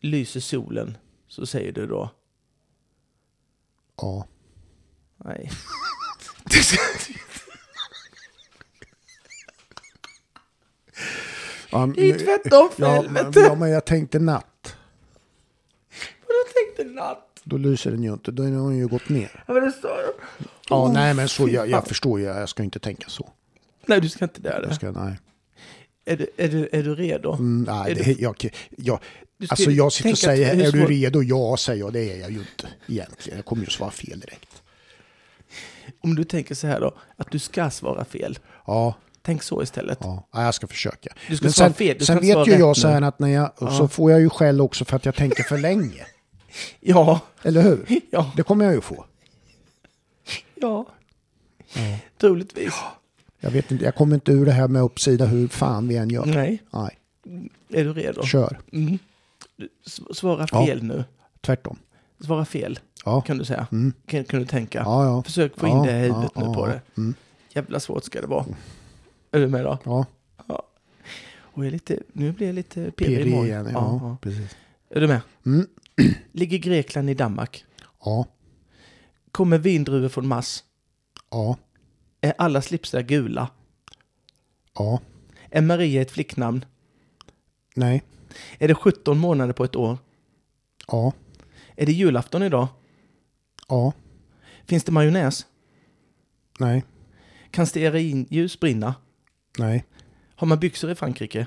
A: Lyser solen, så säger du då
B: Ja.
A: nej.
B: ja
A: Det är
B: nu-
A: tvärtom för
B: ja, men,
A: helvete!
B: ja, men jag tänkte natt.
A: Jag tänkte natt.
B: Då lyser den ju inte. Då har den ju gått ner.
A: Ja, men det sa jag.
B: Ja,
A: Oh,
B: nej, men så,
A: fy
B: jag,
A: fan.
B: jag förstår ju. Jag ska inte tänka så.
A: Nej, du ska inte göra
B: Jag
A: det.
B: ska, nej.
A: Är du, är du, är du redo?
B: Mm, nej
A: Är
B: det, jag, jag,
A: Du ska
B: alltså
A: ju
B: jag sitter och
A: tänka att-
B: säger,
A: hur
B: är du
A: svår-
B: redo? Ja, säger jag. Det är jag ju inte egentligen. Jag kommer ju svara fel direkt.
A: Om du tänker så här då, att du ska svara fel.
B: Ja,
A: Tänk så istället.
B: Ja, ja, jag ska försöka.
A: Du ska
B: Men
A: svara
B: sen
A: fel, du ska
B: sen
A: inte
B: vet
A: svara
B: ju
A: rätt
B: jag så
A: nu.
B: här att när jag, och så får jag ju skäll också för att jag tänker för länge.
A: Ja,
B: Eller hur?
A: ja,
B: Det kommer jag ju få.
A: ja. Troligtvis.
B: Jag, vet inte, jag kommer inte ur det här med uppsida hur fan vi än gör.
A: Nej,
B: Nej,
A: är du redo?
B: kör.
A: Mm. Du, s- Svara
B: Ja.
A: fel nu.
B: Tvärtom.
A: Svara fel,
B: Ja,
A: kan du säga.
B: Mm.
A: Kan, kan du tänka.
B: ja, ja.
A: Försök få in
B: ja,
A: det i huvudet
B: ja,
A: nu
B: ja,
A: på
B: ja.
A: det.
B: Mm.
A: Jävla svårt ska det vara. Är du med då?
B: Ja,
A: Ja. Och jag är lite, nu blir jag lite pirrig i
B: Pirrig
A: magen.
B: igen. Ja,
A: Ja,
B: precis.
A: ja. Är du med?
B: Mm.
A: Ligger Grekland i Danmark?
B: Ja,
A: Kommer vindruvor från Mars?
B: ja,
A: Är alla slipsar gula?
B: ja.
A: Är Maria ett flicknamn?
B: Nej,
A: Är det 17 månader på ett år?
B: ja,
A: Är det julafton idag?
B: ja,
A: Finns det majonnäs?
B: nej,
A: Kan stearinljus brinna?
B: nej,
A: Har man byxor i Frankrike?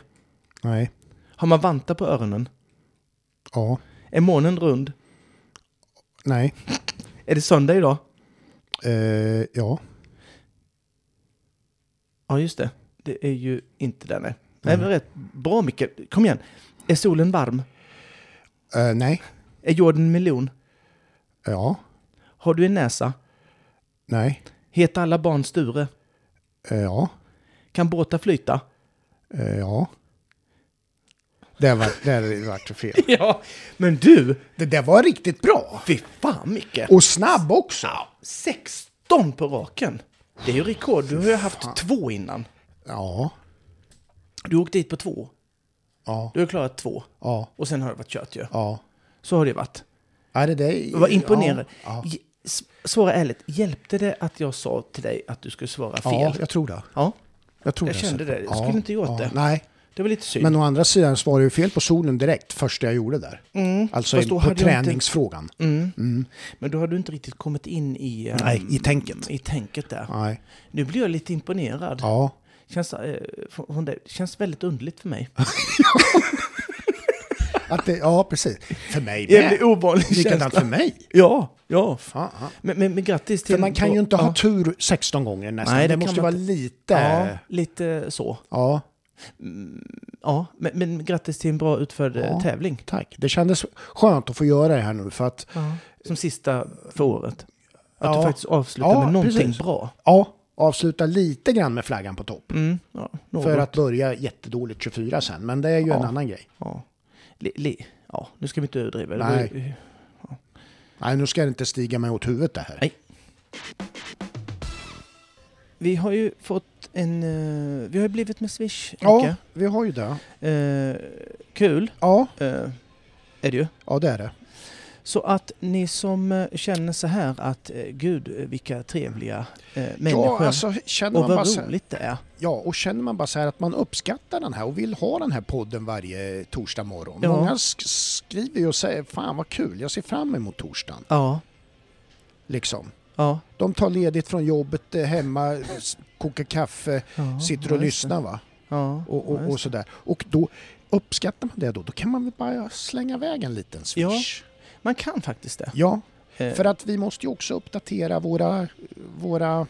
B: nej,
A: Har man vantar på öronen?
B: ja,
A: Är månen rund?
B: nej,
A: Är det söndag idag?
B: eh, ja,
A: Ja, just det. Det är ju inte där, nej. Nej, det var rätt. Bra, Micke. Kom igen. Är solen varm?
B: eh, nej,
A: Är jorden en miljon?
B: ja,
A: Har du en näsa?
B: nej,
A: Heter alla barn Sture?
B: eh, ja,
A: Kan båtar flyta?
B: eh, ja. Det var, där vart det fel.
A: Ja, men du!
B: Det där var riktigt bra.
A: Fy fan, Micke!
B: Och snabb också.
A: 16 på raken! Det är ju rekord. Du har ju haft två innan.
B: Ja,
A: Du åkte dit på två.
B: ja,
A: Du har klarat två.
B: ja,
A: Och sen har det varit kört ju.
B: ja.
A: Så har det varit.
B: Ja, det där,
A: Jag var imponerad.
B: Ja, ja.
A: J- s- Svara ärligt, hjälpte det att jag sa till dig att du skulle svara fel?
B: ja, jag tror det.
A: Ja.
B: Jag, tror
A: Jag kände det. Jag
B: Ja,
A: skulle inte gjort
B: ja,
A: det.
B: Nej,
A: Det var lite synd.
B: men å andra sidan svarade jag ju fel på solen direkt första jag gjorde där. Alltså
A: Mm. fast då
B: på
A: hade jag inte- Mm.
B: träningsfrågan.
A: Men då har du inte riktigt kommit in i, ehm,
B: Nej, i tänket.
A: i tänket där.
B: Nej.
A: Nu blir jag lite imponerad.
B: Ja.
A: Känns, eh, från från dig. känns väldigt underligt för mig.
B: Att det, ja, precis. För mig
A: Jävligt
B: med.
A: ovanlig
B: Likadant
A: känsla.
B: för mig.
A: Ja, ja.
B: Fan. ja.
A: Men, men, men grattis till...
B: För man kan ju inte ha
A: Ja,
B: tur 16 gånger nästan.
A: Nej,
B: det,
A: det kan
B: måste ju
A: man
B: vara lite...
A: ja,
B: Ja.
A: lite så.
B: ja,
A: Ja, men, men grattis till en bra utförd eh,
B: Ja.
A: tävling.
B: tack. Det kändes skönt att få göra det här nu för att...
A: Som sista för året. Att du
B: Ja.
A: faktiskt avslutar
B: Ja,
A: med någonting
B: precis.
A: bra.
B: Ja, avsluta lite grann med flaggan på topp.
A: Mm, ja, något.
B: För att börja jättedåligt 24 sen. Men det är ju en
A: Ja.
B: annan grej.
A: Ja. Li, li, ja, nu ska vi inte överdriva. Det
B: Nej.
A: var ju-
B: Nej, nu ska det inte stiga mig åt huvudet det här.
A: Nej. Vi har ju fått en... eh, vi har ju blivit med Swish,
B: Ja,
A: Micke.
B: vi har ju det.
A: Eh, Kul
B: Ja,
A: eh, är det ju.
B: ja det är det.
A: Så att ni som eh, känner så här att eh, gud eh, vilka trevliga eh, människor
B: Ja, alltså, känner
A: och
B: man bara
A: vad
B: så här,
A: roligt det är.
B: ja, och känner man bara så här att man uppskattar den här och vill ha den här podden varje torsdag morgon.
A: Ja.
B: Många sk- skriver ju och säger fan vad kul, jag ser fram emot torsdagen.
A: Ja,
B: Liksom.
A: ja.
B: De tar ledigt från jobbet, eh, hemma, s- kokar kaffe,
A: ja ja, just
B: sitter och
A: det.
B: lyssnar va?
A: Ja,
B: Och,
A: ja,
B: och,
A: just
B: och sådär. Och då uppskattar man det då, då kan man väl bara slänga iväg en liten swish.
A: det. Man kan faktiskt det.
B: Ja.
A: Eh,
B: För att vi måste ju också uppdatera våra, våra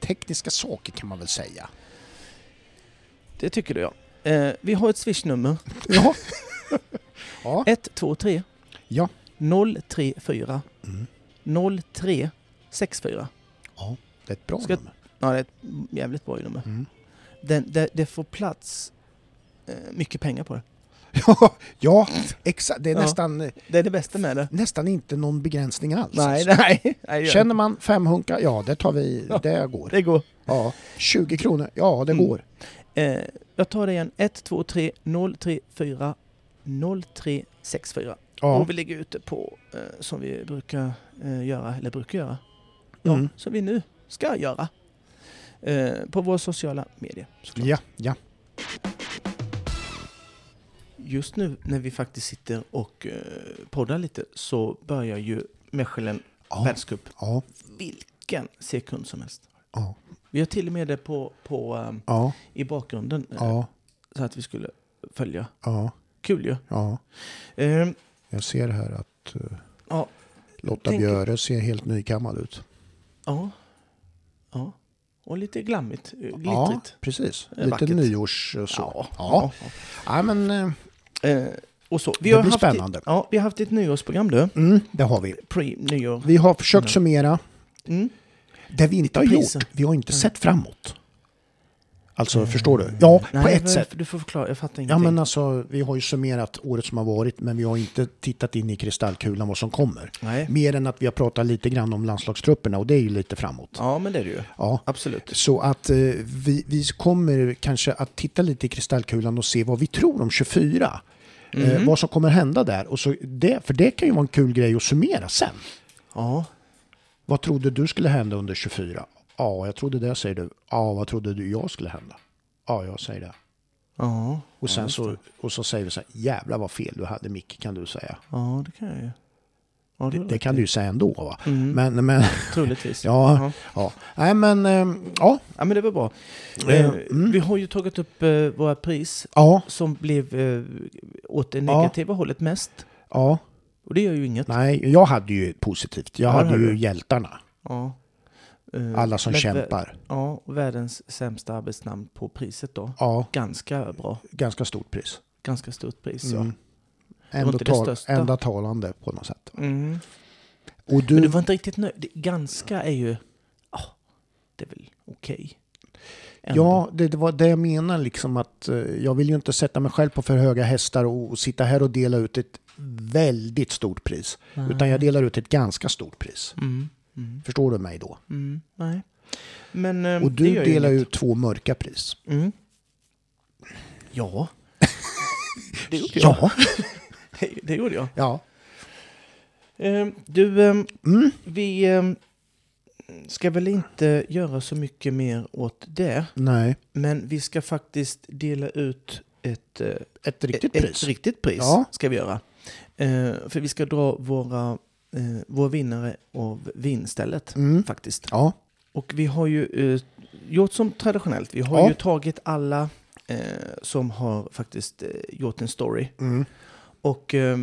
B: tekniska saker kan man väl säga.
A: Det tycker du ja. Eh, vi har ett swishnummer.
B: Ja. ja.
A: 123
B: Ja.
A: 034
B: Mm.
A: 0364.
B: ja, det är ett bra
A: Ska-
B: nummer.
A: Ja, det är ett jävligt bra nummer.
B: Mm.
A: Den, det, det får plats eh, mycket pengar på det.
B: Ja, ja exakt. Det är
A: Ja.
B: nästan,
A: Det är det bästa med det.
B: nästan inte någon begränsning alls.
A: Nej, nej. nej det gör det
B: Känner man fem hunkar, ja det tar vi,
A: Ja.
B: det
A: inte.
B: går.
A: Det går.
B: Ja. 20 kronor, ja det
A: Mm.
B: går.
A: Eh, jag tar det igen. 123 034 0364.
B: Ja.
A: Och vi ligger ute på, eh, som vi brukar eh, göra, eller brukar göra, ja,
B: Mm.
A: som vi nu ska göra. Eh, på våra sociala medier. såklart.
B: ja, ja.
A: Just nu när vi faktiskt sitter och eh, poddar lite så börjar ju Mechelen
B: Ja.
A: världscup
B: Ja.
A: vilken sekund som helst.
B: Ja.
A: Vi har till och med det på, på, eh,
B: Ja.
A: i bakgrunden eh,
B: Ja.
A: så att vi skulle följa.
B: Ja.
A: Kul ju.
B: ja.
A: Eh,
B: Jag ser här att eh,
A: ja,
B: Lotta
A: Tänk-
B: Björe ser helt nykammad ut.
A: ja, ja. Och lite glammigt, eh,
B: Ja,
A: glittrigt.
B: precis.
A: Eh,
B: Lite
A: vackert.
B: nyårs och så.
A: Ja.
B: Ja. Ja, men eh,
A: Eh, och så. Vi
B: Det
A: har
B: blir
A: haft
B: spännande.
A: ja, vi har haft ett nyårsprogram du.
B: mm, det har vi.
A: Pre-nyår.
B: Vi har försökt summera.
A: Mm.
B: Det vi inte har
A: priser.
B: gjort, vi har inte sett framåt. Alltså, förstår du? Ja, på
A: Nej,
B: ett
A: vad-
B: sätt.
A: Du får förklara, jag fattar
B: Ja,
A: ingenting.
B: men alltså, vi har ju summerat året som har varit, men vi har inte tittat in i kristallkulan vad som kommer.
A: Nej.
B: Mer än att vi har pratat lite grann om landslagstrupperna och det är ju lite framåt.
A: Ja, men det är det ju.
B: Ja.
A: Absolut.
B: Så att eh, vi, vi kommer kanske att titta lite i kristallkulan och se vad vi tror om 24.
A: Mhm.
B: Eh, vad som kommer hända där. Och så det, för det kan ju vara en kul grej att summera sen.
A: Ja.
B: Vad trodde du skulle hända under 24? Ja, jag trodde det, säger du. Ja, vad trodde du jag skulle hända? Ja, jag säger det.
A: Ja.
B: Och, sen så, och så säger vi så här, jävlar vad fel du hade Micke, kan du säga.
A: ja, det kan jag ju. Ja, Mhm. det,
B: Det kan du ju säga ändå. Va? Men, men
A: Troligtvis.
B: ja, ja. Nej, men ehm, ja,
A: ja, men det var bra. Eh, Vi har ju tagit upp eh, våra pris
B: ja,
A: som blev eh, åt det
B: Ja.
A: negativa hållet mest.
B: ja.
A: Och det gör ju inget.
B: Nej, jag hade ju positivt. Jag
A: Ja, det
B: hade
A: hade
B: ju
A: du.
B: hjältarna.
A: Ja. Eh,
B: Alla som
A: men vä-
B: kämpar.
A: Ja, och världens sämsta arbetsnamn på priset då.
B: Ja,
A: Ganska bra.
B: ganska stort pris.
A: Ganska stort pris.
B: Mm.
A: var
B: Ändå,
A: inte det
B: tal,
A: största.
B: ända talande på något sätt.
A: Ja. Mm.
B: Och
A: Men du
B: du,
A: var inte riktigt nöjd. Det- Ganska är ju... Ja, det är väl okej. Ändå.
B: ja, det, det var det jag menar liksom att eh, jag vill ju inte sätta mig själv på för höga hästar och, och sitta här och dela ut ett väldigt stort pris.
A: Nej.
B: Utan jag delar ut ett ganska stort pris.
A: Mm, mm,
B: Förstår du mig då?
A: mm, nej. Men eh,
B: Och
A: det
B: du
A: gör
B: delar
A: ju...
B: ju
A: inget.
B: ut två mörka pris.
A: Mm. Ja. det gjorde jag.
B: Ja.
A: Det gjorde jag.
B: ja.
A: Eh, du, eh,
B: Mm.
A: vi eh, ska väl inte göra så mycket mer åt det.
B: Nej,
A: Men vi ska faktiskt dela ut ett, eh,
B: ett riktigt
A: ett,
B: pris.
A: ett riktigt pris.
B: Ja.
A: Ska vi göra. Eh, för vi ska dra våra, eh, vår vinnare av vinstället.
B: Mm.
A: Faktiskt.
B: Ja,
A: Och vi har ju eh, gjort som traditionellt. Vi har
B: Ja.
A: ju tagit alla eh, som har faktiskt eh, gjort en story.
B: mm.
A: Och eh,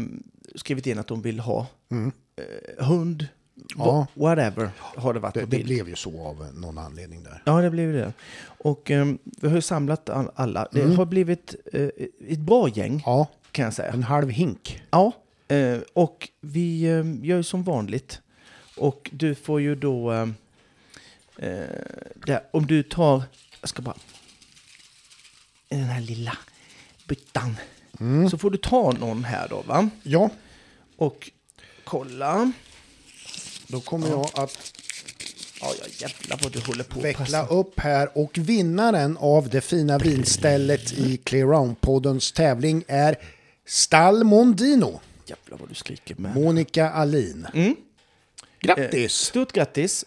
A: skrivit in att de vill ha
B: Mm.
A: eh, hund,
B: Ja.
A: wha- whatever har det varit
B: Det,
A: på
B: det
A: bild.
B: blev ju så av någon anledning där.
A: Ja, det blev det. Och eh, vi har ju samlat all- alla. Det
B: Mm.
A: har blivit eh, ett bra gäng
B: Ja,
A: kan jag säga.
B: en halv hink.
A: Ja, eh, och vi eh, gör ju som vanligt. Och du får ju då... eh, eh, Där, om du tar... Jag ska bara... i Den här lilla byttan. Så får du ta någon här då, va?
B: Ja,
A: Och kolla.
B: då kommer jag att
A: Ja, jag jävlar vad du håller på och
B: veckla
A: pressar.
B: upp här och vinnaren av det fina vinstället i Clear Round-poddens tävling är Stall Mondino,
A: Jävlar vad du skriker med.
B: Monica Alin. Eh, Grattis!
A: Stort Mm. grattis.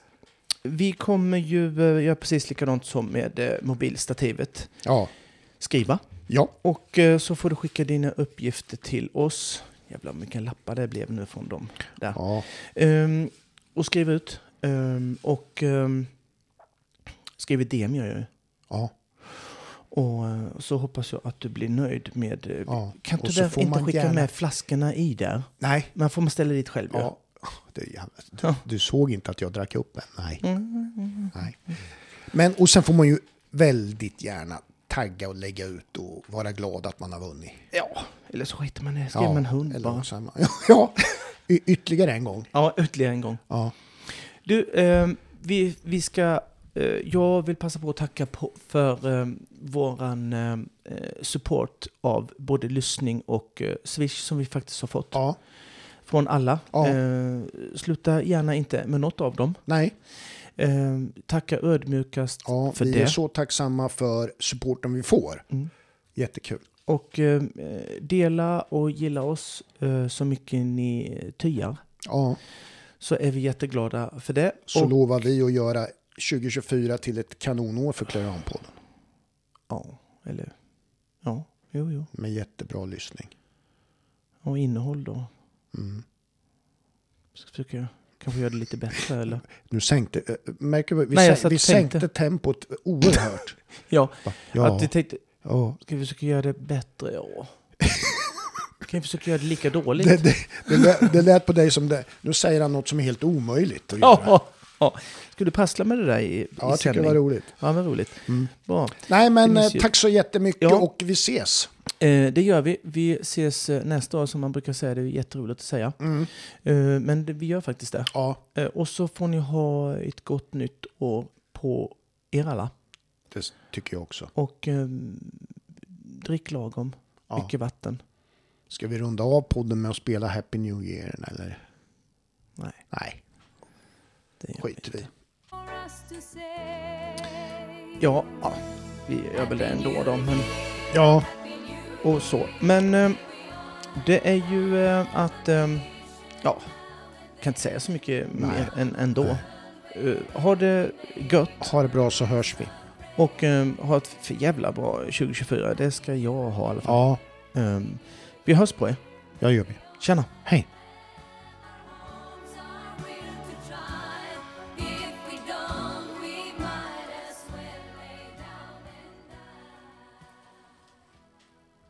A: Vi kommer ju eh, göra precis likadant som med eh, mobilstativet.
B: Ja,
A: Skriva.
B: ja.
A: Och eh, så får du skicka dina uppgifter till oss. Jävlar vilka lappar det blev nu från dem. Där.
B: ja.
A: Ehm, och skriv ut. Ehm, och um, skriv ett DM gör jag ju.
B: ja.
A: Och eh, så hoppas jag att du blir nöjd med... eh,
B: Ja,
A: Kan
B: och
A: du
B: så
A: där
B: får
A: inte
B: man
A: skicka
B: gärna-
A: med flaskorna i där?
B: Nej.
A: Man får man ställa dit själv ju.
B: Ja. Det, är jävligt. du, du såg inte att jag drack upp en? Nej.
A: Mm.
B: Nej. Men, och sen får man ju väldigt gärna tagga och lägga ut och vara glad att man har vunnit.
A: ja. Eller så skiter man i det. Skriver man hund
B: eller
A: bara.
B: också är man- Ja, y- ytterligare en gång.
A: Ja, ytterligare en gång.
B: Ja.
A: Du, ehm, vi, vi ska... eh, jag vill passa på att tacka på för um, våran ehm, eh, support av både lyssning och eh, Swish som vi faktiskt har fått
B: ja.
A: från alla.
B: Ja.
A: Eh, sluta gärna inte med något av dem.
B: Nej,
A: Eh, tacka ödmjukast
B: ja,
A: för
B: vi är
A: det.
B: så tacksamma för supporten vi får.
A: Mm.
B: Jättekul.
A: Och eh, dela och gilla oss eh, så mycket ni tyar.
B: Ja,
A: Så är vi jätteglada för det.
B: så
A: och,
B: lovar vi att göra 2024 till ett kanonår för Clarion-podden.
A: ja, eller... Ja, jo, jo.
B: Med jättebra lyssning. Mm.
A: Och innehåll då? Ska försöka kanske göra det lite bättre eller?
B: Nu sänkte, äh, märker vi, vi,
A: Nej, jag
B: sän-
A: satt
B: vi
A: och tänkte.
B: sänkte tempot oerhört.
A: Ja,
B: Ja,
A: att vi tänkte,
B: ja.
A: ska vi försöka göra det bättre? Ja. kan vi försöka göra det lika dåligt?
B: Det, det, det, lät, det lät på dig som det. Nu säger han något som är helt omöjligt att göra.
A: ja, ja. Ska du passla med det där i, i
B: Ja, jag tycker det
A: sändning?
B: var roligt. Mm.
A: Ja, vad roligt. Bra.
B: Nej, men
A: Det
B: eh,
A: minns ju.
B: tack så jättemycket
A: Ja.
B: och vi ses.
A: Eh, det gör vi. Vi ses eh, nästa år som man brukar säga. Det är jätteroligt att säga.
B: Mm.
A: Eh, men det, vi gör faktiskt det.
B: Ja,
A: Eh, och så får ni ha ett gott nytt år på er alla.
B: Det tycker jag också.
A: Och eh, drick lagom.
B: Ja.
A: Mycket vatten.
B: Ska vi runda av podden med att spela Happy New Year eller?
A: Nej,
B: Nej,
A: det gör vi
B: skit i
A: inte.
B: det.
C: for us to say.
A: Ja, ja, vi gör väl det ändå då. Men,
B: Ja,
A: och så. men eh, det är ju eh, att... Eh, ja, kan inte säga så mycket mer än ändå. Eh, ha det gött
B: ha det bra så hörs vi.
A: och eh, ha ett för jävla bra 2024. Det ska jag ha i alla fall.
B: Ja,
A: Eh, vi hörs på er.
B: jag gör det.
A: Tjena!
B: Hej.